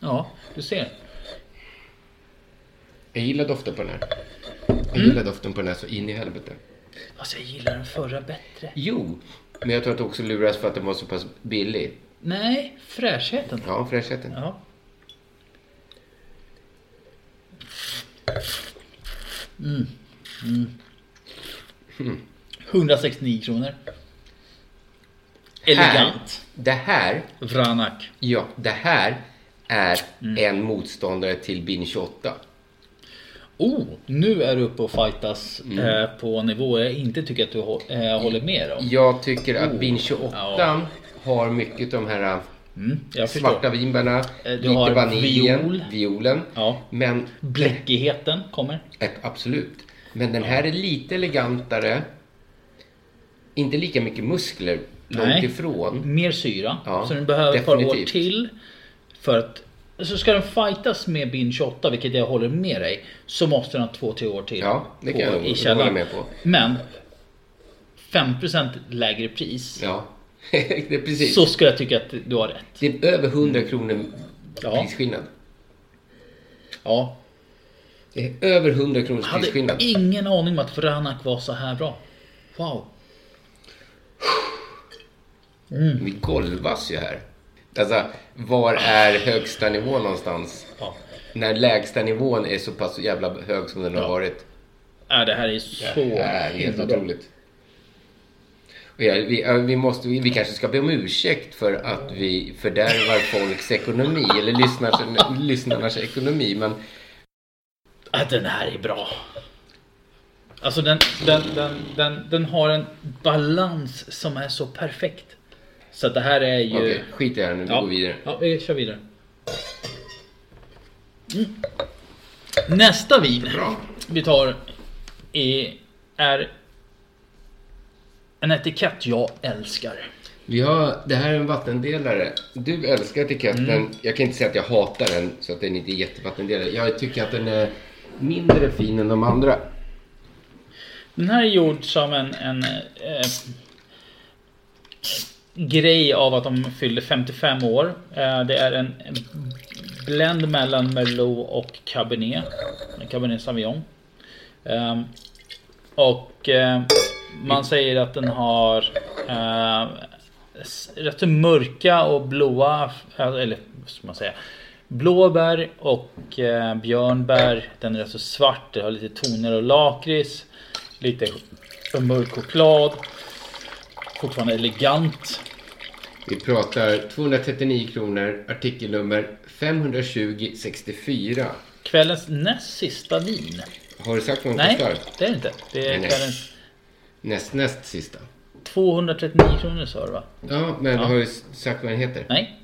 B: Ja, du ser.
G: Jag gillar doften på den här. Jag
B: Mm.
G: gillar doften på den här så in i helvete.
B: Alltså jag gillar den förra bättre.
G: Jo, men jag tror att det också luras för att den var så pass billig.
B: Nej, fräschheten.
G: Ja, fräschheten.
B: Ja. Mm. Mm. 169 kronor. Elegant.
G: Här, det här,
B: Vranak.
G: ja, det här är
B: Mm.
G: en motståndare till bin 28.
B: Oh, nu är du uppe och fightas eh, på nivåer jag inte tycker att du hå- eh, håller med om.
G: Jag tycker att bin 28
B: Oh. Ja.
G: har mycket av de här äh,
B: Mm, jag förstår. Eh,
G: svarta vinbärna,
B: du
G: lite
B: har
G: vaniljen,
B: viol.
G: violen.
B: Ja.
G: Men
B: Bläckigheten kommer.
G: Eh, Absolut. Men den här är lite elegantare. Inte lika mycket muskler, långt
B: Nej. Mm.
G: ifrån.
B: Mer syra.
G: Ja,
B: så den behöver ett par år
G: definitivt.
B: till. För att så ska den fightas med bin 28, vilket jag håller med dig, så måste den ha två, tre år till.
G: Ja, det kan
B: på-
G: jag
B: i
G: hålla
B: källaren.
G: med på.
B: Men 5% lägre pris.
G: Ja, [LAUGHS] det är precis.
B: Så skulle jag tycka att du har rätt.
G: Det är över 100 kronor
B: Ja.
G: prisskillnad.
B: Ja.
G: Det är över 100 kronors
B: Jag hade
G: prisskillnad.
B: ingen aning om att Franak var så här bra. Wow.
G: Vi golvas ju här. Alltså, var är högsta nivå någonstans?
B: Ja.
G: När lägsta nivån är så pass jävla hög som den har
B: Ja.
G: varit.
B: Äh, det här är så
G: Det är helt
B: himla bra.
G: otroligt. Och ja, vi, ja, vi, måste, vi vi kanske ska be om ursäkt för att vi fördärvar folks ekonomi eller lyssnars, lyssnarnas ekonomi. Men
B: Att Äh, den här är bra. Alltså den, den, den, den, den har en balans som är så perfekt. Så att det här är ju...
G: okej, skit i det här nu. Vi
B: ja.
G: går vidare.
B: Ja, vi kör vidare. Mm. Nästa vin
G: Bra.
B: vi tar är, är en etikett jag älskar.
G: Vi har, det här är en vattendelare. Du älskar etiketten.
B: Mm.
G: Jag kan inte säga att jag hatar den så att den inte är jättevattendelare. Jag tycker att den är mindre fin än de andra.
B: Den här är gjord som en, en eh, grej av att de fyllde 55 år. Eh, det är en blend mellan Merlot och Cabernet. En Cabernet Sauvignon. Eh, och eh, man säger att den har eh, s- rätt så mörka och blåa, eh, eller vad ska man säga, blåbär och eh, björnbär. Den är rätt så svart, den har lite toner av lakrits, lite mörk choklad. Fortfarande elegant.
G: Vi pratar 239 kronor, artikelnummer 520 64.
B: Kvällens näst sista vin.
G: Har du sagt vad den
B: Nej,
G: kostar?
B: det är det inte. Det
G: Nej,
B: är
G: nej.
B: kvällens
G: Näst, näst sista.
B: 239 kronor sa du va?
G: Ja, men har du sagt vad den heter?
B: Nej?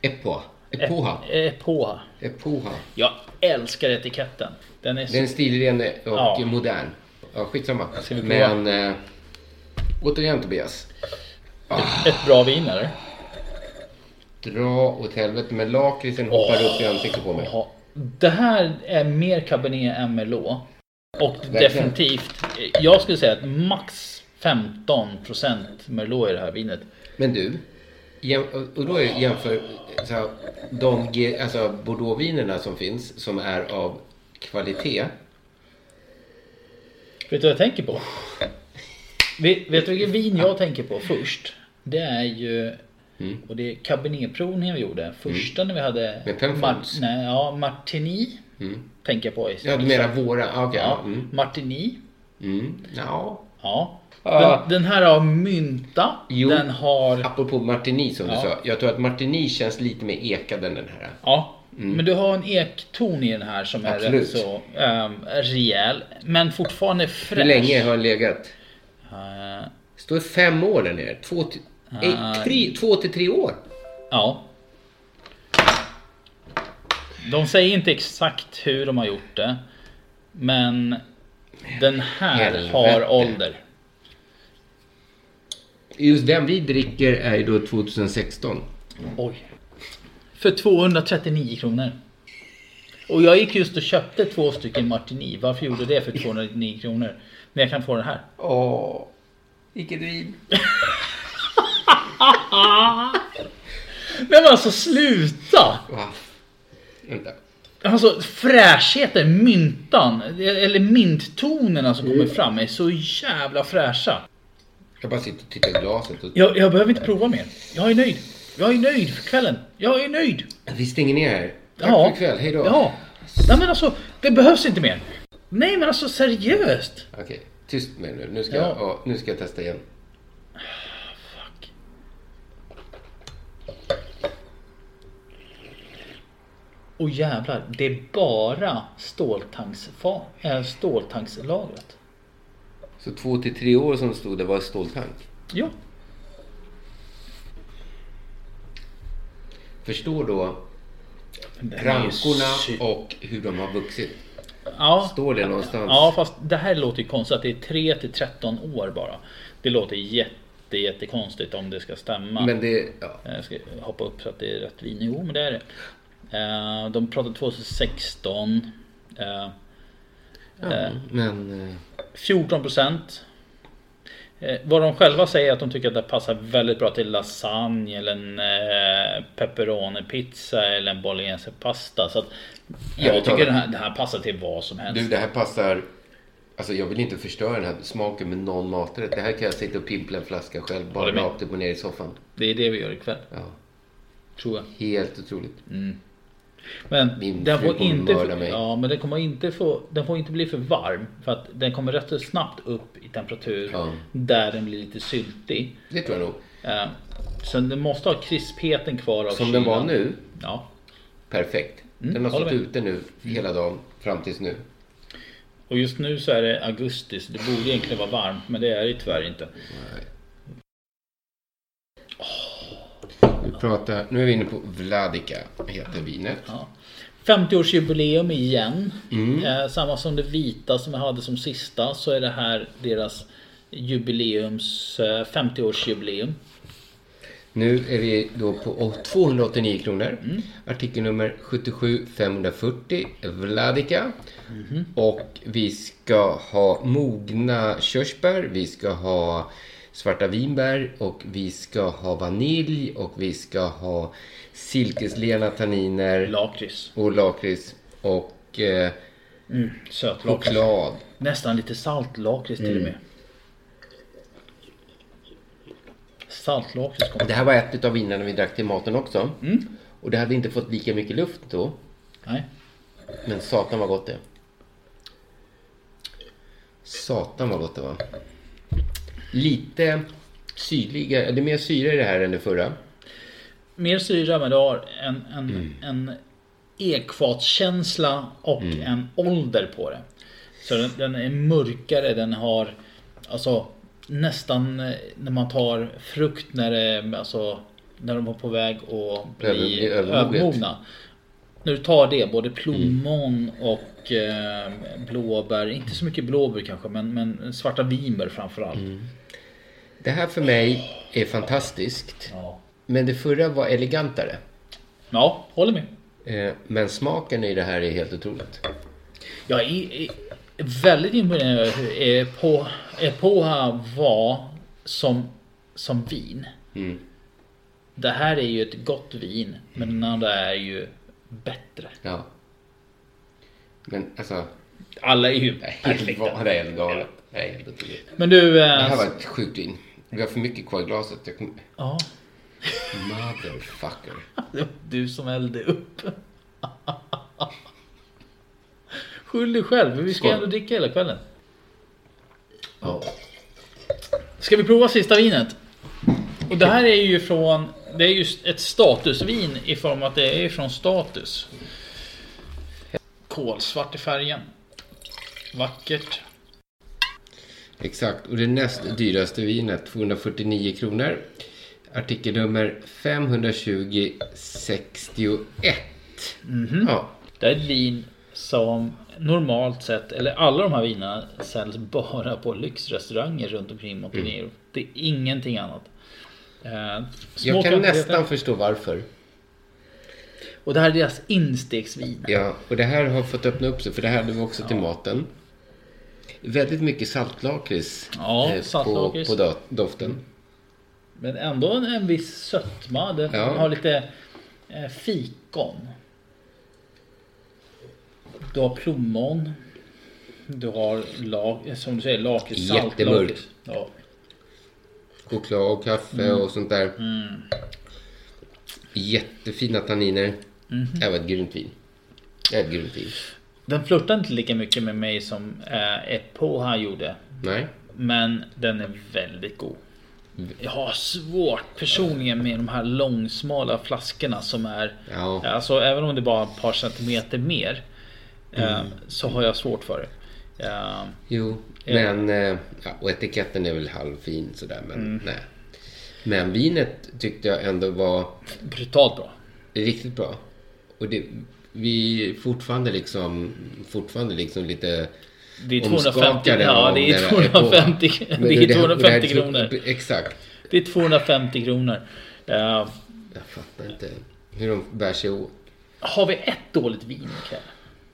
G: Epoa. Epoha.
B: Eh, Påha.
G: Epoha.
B: Jag älskar etiketten. Den är så
G: Den är stilren och
B: Ja.
G: modern. Ja, skitsamma.
B: Ska vi prova?
G: Men eh, återigen Tobias.
B: ett bra vin eller?
G: Dra åt helvete men lakritsen hoppar upp i ansiktet på mig.
B: Ja, det här är mer Cabernet än Merlot. Och definitivt, eh, jag skulle säga att max 15% Merlot i det här vinet.
G: Men du, jäm- och- och då är- jämför så här, de ge- alltså, bordeauxvinerna som finns som är av kvalitet.
B: Vet du vad jag tänker på? Vet, vet du vilket vin jag tänker på först? Det är ju Och det är Cabernetprovningen vi gjorde. Första när vi hade
G: Mm. Med Penfolds. Mm.
B: nej, ja, Martini. Tänker jag på. i-
G: Ja, du menar våra? Ah, Okej.
B: ja,
G: ja. Mm.
B: Martini.
G: Mm. Ja.
B: Ja.
G: Ah.
B: Den, den här har mynta.
G: Jo.
B: Den har...
G: Apropå Martini som
B: Ja.
G: du sa. Jag tror att Martini känns lite mer ekad än den här.
B: Ja. Men du har en ekton i den här som är
G: Mm. Absolut.
B: rätt så um, rejäl. Men fortfarande fräsch.
G: Hur länge har den legat?
B: Eh,
G: Står fem år där nere. Två till, eh, tre, två till tre år.
B: Ja. De säger inte exakt hur de har gjort det. Men den här
G: Helvete.
B: har ålder.
G: Just den vi dricker är ju då 2016.
B: Oj. För 239 kronor. Och jag gick just och köpte två stycken Martini. Varför gjorde jag det för 239 kronor? Men jag kan få den här.
G: Åh, vilket vin.
B: Nej, Men alltså sluta!
G: Va? Vänta.
B: Alltså fräschheten, myntan, eller minttonerna som kommer fram är så jävla fräscha.
G: Jag bara sitter och tittar i glaset. Och...
B: Jag, jag behöver inte prova mer. Jag är nöjd. Jag är nöjd för kvällen. Jag är nöjd.
G: Vi stänger ner här. Tack
B: Ja.
G: för ikväll, hejdå.
B: Ja. Nej men alltså, det behövs inte mer. Nej men alltså seriöst.
G: Okej, tyst med nu. Nu ska,
B: Ja.
G: jag, ja, nu ska jag testa igen.
B: Och jävlar, det är bara ståltanksfa- eh, ståltankslagret.
G: Så två till tre år som stod det var ståltank.
B: Ja.
G: Förstår då
B: Den är ju sy-
G: rankorna och hur de har vuxit.
B: Ja.
G: Står det någonstans?
B: Ja fast det här låter ju konstigt att det är 3 till 13 år bara. Det låter jätte jättekonstigt om det ska stämma.
G: Men det... Ja.
B: Eh, Jag ska hoppa upp så att det är rätt vin. Jo men det är det. Eh, De pratade 2016. Eh,
G: ja men... eh,
B: 14 procent. Eh, Vad de själva säger är att de tycker att det passar väldigt bra till lasagne eller en eh, pepperoni-pizza eller en bolognese-pasta. Så att jag
G: Ärligt
B: tycker
G: talat.
B: den här, det här passar till vad som helst.
G: Du, det här passar... Alltså jag vill inte förstöra den här smaken med någon maträtt. Det här kan jag sitta och pimpla en flaska själv. Bara
B: Håller med.
G: rakt upp och ner i soffan.
B: Det är det vi gör ikväll.
G: Ja.
B: Tror jag.
G: Helt otroligt.
B: Men
G: Min
B: den
G: fru
B: får
G: kommer
B: inte,
G: mörda mig.
B: ja, men den kommer inte få, den får inte bli för varm för att den kommer rätt så snabbt upp i temperatur
G: Ja.
B: där den blir lite syltig.
G: Det tror jag nog.
B: Eh, så den måste ha krispheten kvar av
G: Som den var
B: kylan.
G: nu.
B: Ja,
G: Perfekt.
B: Mm,
G: Den har
B: håller
G: stått
B: med.
G: ute nu hela dagen fram tills nu.
B: Och just nu så är det augusti så det borde egentligen vara varmt men det är det tyvärr inte.
G: Vi pratar, nu är vi inne på Vladika, heter vinet.
B: Ja. 50-årsjubileum igen.
G: Mm.
B: Eh, samma som det vita som jag hade som sista så är det här deras jubileums eh, 50-årsjubileum.
G: Nu är vi då på å- 289 kronor.
B: Mm.
G: Artikelnummer 77540, Vladika.
B: Mhm.
G: Och vi ska ha mogna körsbär, vi ska ha svarta vinbär och vi ska ha vanilj och vi ska ha silkeslena tanniner
B: Lakrits.
G: och lakrits och eh,
B: Sötlakrits.
G: choklad.
B: Nästan lite saltlakrits till och med. Saltlakrits kommer.
G: Det här var ett av vinerna vi drack till maten också. Och det hade inte fått lika mycket luft då.
B: Nej.
G: Men satan vad gott det är. Satan vad gott det var. Lite syrliga, det är mer syre i det här än det förra.
B: Mer syra men det har en, en,
G: Mm.
B: en ekfatskänsla och
G: Mm.
B: en ålder på det. Så den, den är mörkare, den har alltså nästan eh, när man tar frukt när det, alltså, när de var på väg att bli
G: Över- bli övermoget.
B: övermogna. När du tar det, både
G: Mm.
B: plommon och eh, blåbär, inte så mycket blåbär kanske men, men svarta vinbär framförallt.
G: Mm. Det här för mig är fantastiskt.
B: Ja.
G: Men det förra var elegantare.
B: ja, håller med.
G: Eh, Men smaken i det här är helt otroligt.
B: Jag är, är väldigt imponerad över hur Epo- Epoha var som, som vin. Det här är ju ett gott vin, men den andra är ju bättre.
G: Ja. Men alltså,
B: Alla är ju
G: det är helt,
B: perfekta.
G: va- det är helt galet. Det är helt otroligt.
B: Men du...
G: Det
B: eh,
G: här var ett sjukt vin. Vi har för mycket kvar i glaset. Jag kommer...
B: Ja,
G: Motherfucker.
B: [LAUGHS] det var du som hällde upp. [LAUGHS] Skyll dig själv, men vi ska
G: Skål.
B: ändå dricka hela kvällen.
G: Ja.
B: Ska vi prova sista vinet? Och det här är ju från... Det är ju ett statusvin i form att det är från status. Kolsvart i färgen. Vackert.
G: Exakt. Och det näst dyraste vinet, 249 kronor. Artikelnummer 52061.
B: Mhm.
G: Ja.
B: Det här är ett vin som normalt sett, eller alla de här vinerna säljs bara på lyxrestauranger runt omkring Montenegro.
G: Mm.
B: Det är ingenting annat. Eh, små
G: Jag kan
B: kvantiteter.
G: nästan förstå varför.
B: Och det här är deras instegsvin.
G: Ja, och det här har fått öppna upp sig, för det här hade vi också till maten. Väldigt mycket saltlakrits
B: Ja,
G: eh, på,
B: saltlakrits.
G: på do- doften.
B: Men ändå en, en viss sötma. Den
G: Ja.
B: har lite eh, fikon. Du har plommon. Du har lak, eh, som du säger lakritssalt.
G: Jättemörk.
B: Ja. Mm.
G: Choklad och kaffe och sånt där. Jättefina tanniner.
B: Mhm.
G: Det här var ett grymt vin. Det är ett grymt vin.
B: Den flörtar inte lika mycket med mig som eh, Epoha gjorde.
G: Nej.
B: Men den är väldigt god. Jag har svårt personligen med de här långsmala flaskorna som är...
G: Ja.
B: Alltså även om det är bara är ett par centimeter mer. eh,
G: Mm.
B: Så har jag svårt för det. Eh,
G: Jo,
B: Ja.
G: men... eh, Ja, och etiketten är väl halvfin sådär, men
B: Mm.
G: nej. Men vinet tyckte jag ändå var
B: Brutalt bra.
G: riktigt bra. Och det, vi är fortfarande liksom, fortfarande liksom lite
B: Det är 250
G: omskakade
B: ja,
G: av
B: det är
G: den här epoken.
B: 250 [LAUGHS]
G: Men
B: det är
G: här-
B: 250
G: här är tro-
B: kronor.
G: Exakt.
B: Det är 250 kronor. Eh,
G: Jag fattar inte hur de bär sig åt.
B: Har vi ett dåligt vin ikväll?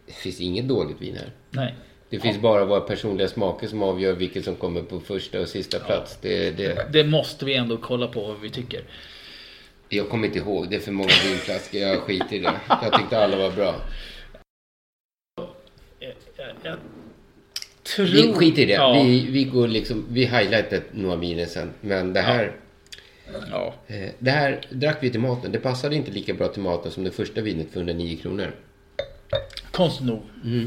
G: Det finns inget dåligt vin här.
B: Nej.
G: Det finns bara våra personliga smaker som avgör vilket som kommer på första och sista plats. Det, det,
B: Det måste vi ändå kolla på vad vi tycker.
G: jag kommer inte ihåg, det är för många vinflaskor. Jag skiter i det. Jag tyckte alla var bra. [LAUGHS]
B: Tror...
G: Vi skiter i det.
B: Ja.
G: Vi, vi går liksom, vi highlightar några viner sen. Men det här,
B: Ja.
G: eh, det här drack vi till maten. Det passade inte lika bra till maten som det första vinet för 109 kronor.
B: Konstigt nog. Men,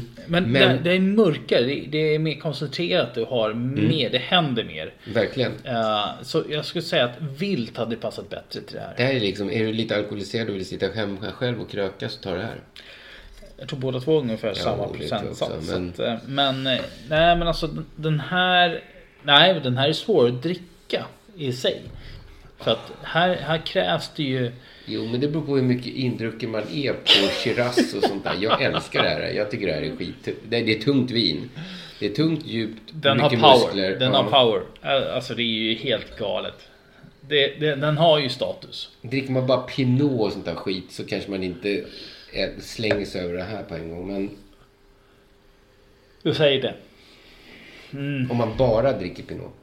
G: Mm. Men-
B: Det, det är mörkare, det, det är mer koncentrerat, du har
G: Mm.
B: mer, det händer mer.
G: Verkligen.
B: Eh, så jag skulle säga att vilt hade passat bättre till det här.
G: Det här är liksom, är du lite alkoholiserad och vill sitta hemma själv och kröka så ta det här.
B: Jag tror båda två har ungefär samma
G: det tror jag
B: procentsats.
G: också,
B: så
G: men-
B: att, eh, men eh, nej men alltså den- den här, nej den här är svår att dricka i sig. För att här, här krävs det ju
G: Jo, men det beror på hur mycket indrucken man är på Shiraz och sånt där. Jag älskar det här. Jag tycker det här är skit. Det, det är tungt vin. Det är tungt, djupt,
B: Den har
G: mycket
B: power.
G: muskler.
B: Den
G: Ja.
B: har power. Eh, Alltså det är ju helt galet. Det, det, den har ju status.
G: Dricker man bara Pinot och sånt där skit så kanske man inte eh, slänger sig över det här på en gång. Men
B: Du säger det.
G: om man bara dricker Pinot.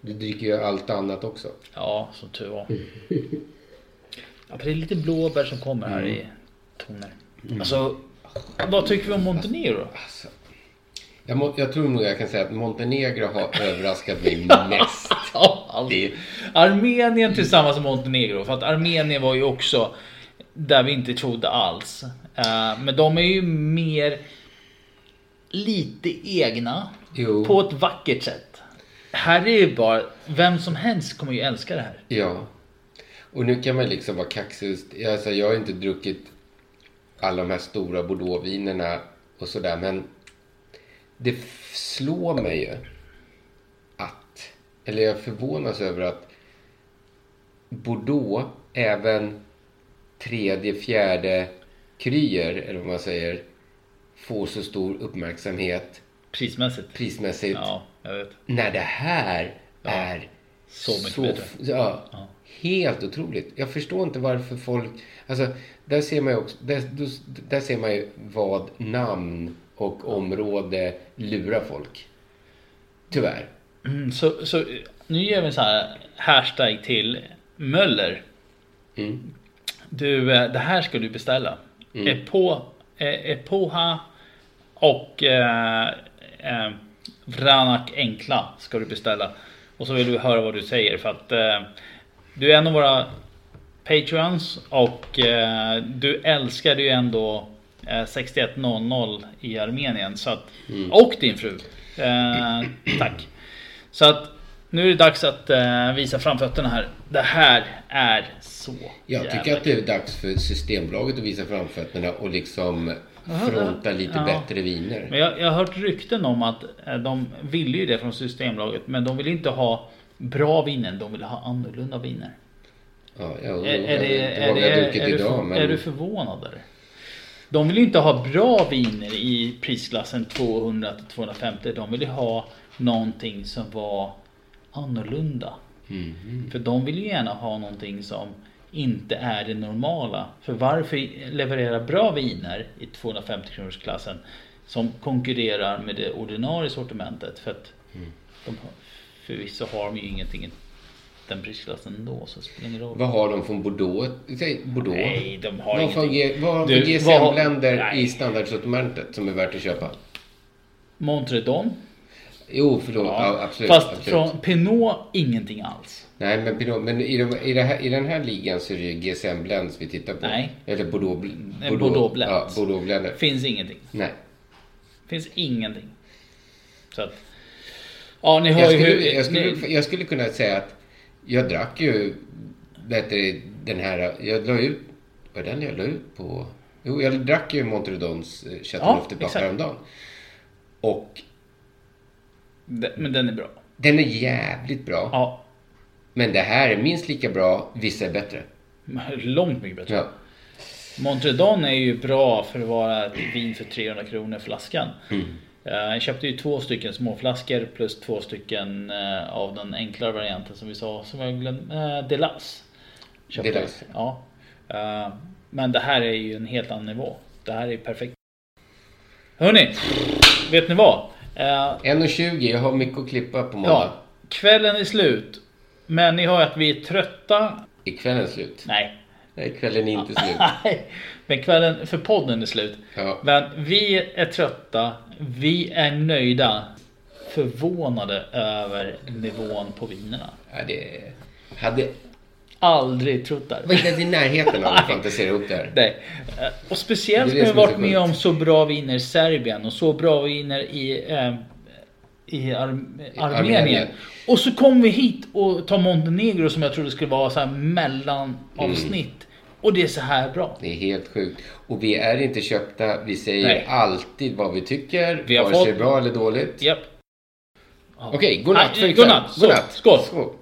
G: Du dricker ju allt annat också.
B: Ja, som tur var. Ja, för det är lite blåbär som kommer här i toner. Alltså, vad tycker vi om Montenegro?
G: Alltså, jag, må, jag tror nog jag kan säga att Montenegro har överraskat mig mest.
B: Ja, alltså, aldrig. Armenien tillsammans med Montenegro. För att Armenien var ju också där vi inte trodde alls. Eh, Men de är ju mer lite egna.
G: Jo.
B: På ett vackert sätt. Här är ju bara, vem som helst kommer ju älska det här.
G: Ja. Och nu kan man liksom vara kaxig. Alltså, jag har inte druckit alla de här stora bordeauxvinerna och sådär. Men det f- slår mig ju att, eller jag förvånas över att Bordeaux, även tredje, fjärde kryer, eller vad man säger, får så stor uppmärksamhet
B: Prismässigt.
G: prismässigt
B: Ja, jag vet.
G: när det här är
B: så mycket bättre.
G: f- Ja, Helt otroligt. Jag förstår inte varför folk... Alltså, där ser man ju, också, där, då- där ser man ju vad namn och område lurar folk. Tyvärr.
B: Mm, så, så eh, nu gör vi en sån här hashtag till Möller.
G: Mm.
B: Du, eh, det här ska du beställa. Epo, eh, Epoha och eh, eh, Vranak Enkla ska du beställa. Och så vill vi höra vad du säger för att eh, du är en av våra Patreons och eh, du älskade ju ändå eh, 6100 i Armenien så att,
G: Mm.
B: och din fru. Eh, tack. Så att nu är det dags att eh, visa framfötterna här. Det här är så
G: Jag
B: jävla
G: tycker att det är dags för Systembolaget att visa framfötterna och liksom fronta lite
B: Ja.
G: bättre viner.
B: Men jag, jag har hört rykten om att eh, de ville ju det från Systembolaget men de vill inte ha bra viner, de vill ha annorlunda viner.
G: Ja, jag undrar
B: Är, är, det,
G: inte
B: är,
G: vad
B: det,
G: vi har druckit
B: är, du,
G: idag,
B: för-
G: men...
B: är du förvånad eller? De vill ju inte ha bra viner i prisklassen 200 till 250. De vill ju ha någonting som var annorlunda. För de vill ju gärna ha någonting som inte är det normala. För varför leverera bra viner i 250 kronorsklassen som konkurrerar med det ordinarie sortimentet? För att de har, förvisso har de ju ingenting i den prisklassen ändå så det spelar ingen roll.
G: Vad har de från Bordeaux? Säg Bordeaux.
B: Nej, de har
G: vad
B: ingenting.
G: Ge, vad har de
B: Du,
G: för
B: vad har-
G: GSM-länder
B: Nej.
G: i standardsortimentet som är värt att köpa?
B: Montredon.
G: Jo, förlåt. Ja. absolut.
B: Fast
G: absolut.
B: från Pinot, ingenting alls.
G: Nej, men, Pinot, men i, de, i, det här, i den här ligan så är det ju GSM Blends vi tittar på.
B: Nej.
G: Eller Bordeaux, bl-
B: Nej, Bordeaux Blends.
G: Ja, Bordeaux Blender.
B: Finns ingenting.
G: Nej.
B: Finns ingenting. Så att... Ja, ni hör
G: Jag
B: ju hur...
G: skulle, jag, skulle,
B: ni,
G: jag skulle kunna säga att jag drack ju vet du, den här... Jag la ut... Vad är den jag la ut på? Jo, jag drack ju Montredons eh,
B: Ja,
G: Chateau ja,
B: exakt.
G: häromdagen. Och
B: de- men den är bra.
G: den är jävligt bra.
B: Ja,
G: Men det här är minst lika bra, vissa är bättre.
B: långt mycket bättre.
G: Ja.
B: Montredon är ju bra för att vara ett vin för 300 kronor flaskan. Eh, Jag köpte ju två stycken småflaskor plus två stycken eh, av den enklare varianten som vi sa som jag glömde. eh, Delas. Köpte jag.
G: Delas.
B: Ja. Eh, Men det här är ju en helt annan nivå. Det här är ju perfekt. Hörni, vet ni vad? Eh,
G: 1.20, jag har mycket att klippa på måndag.
B: Ja, kvällen är slut. Men ni hör att vi är trötta.
G: Är kvällen slut?
B: Nej,
G: Nej, kvällen är inte slut.
B: Nej, men kvällen för podden är slut.
G: Ja.
B: Men vi är trötta, vi är nöjda, förvånade över nivån på vinerna.
G: Ja, det hade...
B: Aldrig trott det.
G: var inte ens i närheten av att fantisera ihop det här.
B: Nej. Eh, Och speciellt
G: Det
B: när vi
G: är det som är så
B: varit med
G: sjukt.
B: om så bra viner i Serbien och så bra viner i, eh, i Ar- Armenien.
G: Armenien.
B: Och så kom vi hit och tar Montenegro som jag trodde skulle vara så här mellanavsnitt.
G: Mm.
B: Och det är så här bra.
G: Det är helt sjukt. Och vi är inte köpta. Vi säger
B: Nej.
G: alltid vad vi tycker.
B: Vi har
G: vare sig
B: fått-
G: bra eller dåligt.
B: Japp.
G: Okej, godnatt
B: Nej,
G: för ikväll.
B: godnatt. Så, skål.
G: skål.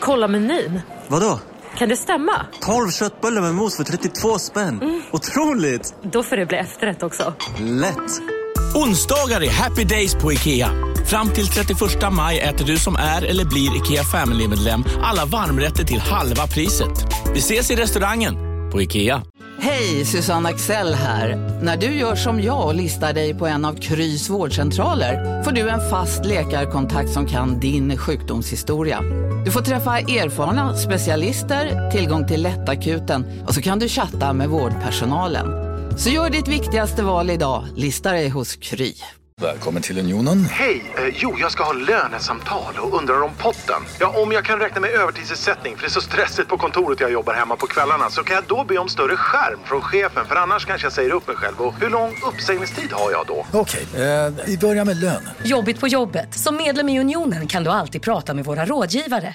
J: Kolla menyn.
K: Vadå?
J: Kan det stämma?
K: 12 köttbullar med mos för 32 spänn. Otroligt!
J: Då får det bli efterrätt också.
K: Lätt!
L: Onsdagar är happy days på IKEA. Fram till 31 maj äter du som är eller blir IKEA Family-medlem alla varmrätter till halva priset. Vi ses i restaurangen på IKEA.
M: Hej, Susanne Axel här. När du gör som jag och listar dig på en av Krys vårdcentraler får du en fast läkarkontakt som kan din sjukdomshistoria. Du får träffa erfarna specialister, tillgång till lättakuten och så kan du chatta med vårdpersonalen. Så gör ditt viktigaste val idag, lista dig hos Kry.
N: Välkommen till Unionen.
O: Hej! Eh, jo, jag ska ha lönesamtal och undrar om potten. Ja, om jag kan räkna med övertidsersättning för det är så stressigt på kontoret jag jobbar hemma på kvällarna så kan jag då be om större skärm från chefen för annars kanske jag säger upp mig själv. Och hur lång uppsägningstid har jag då?
N: Okej, eh, vi börjar med lön.
J: Jobbigt på jobbet. Som medlem i Unionen kan du alltid prata med våra rådgivare.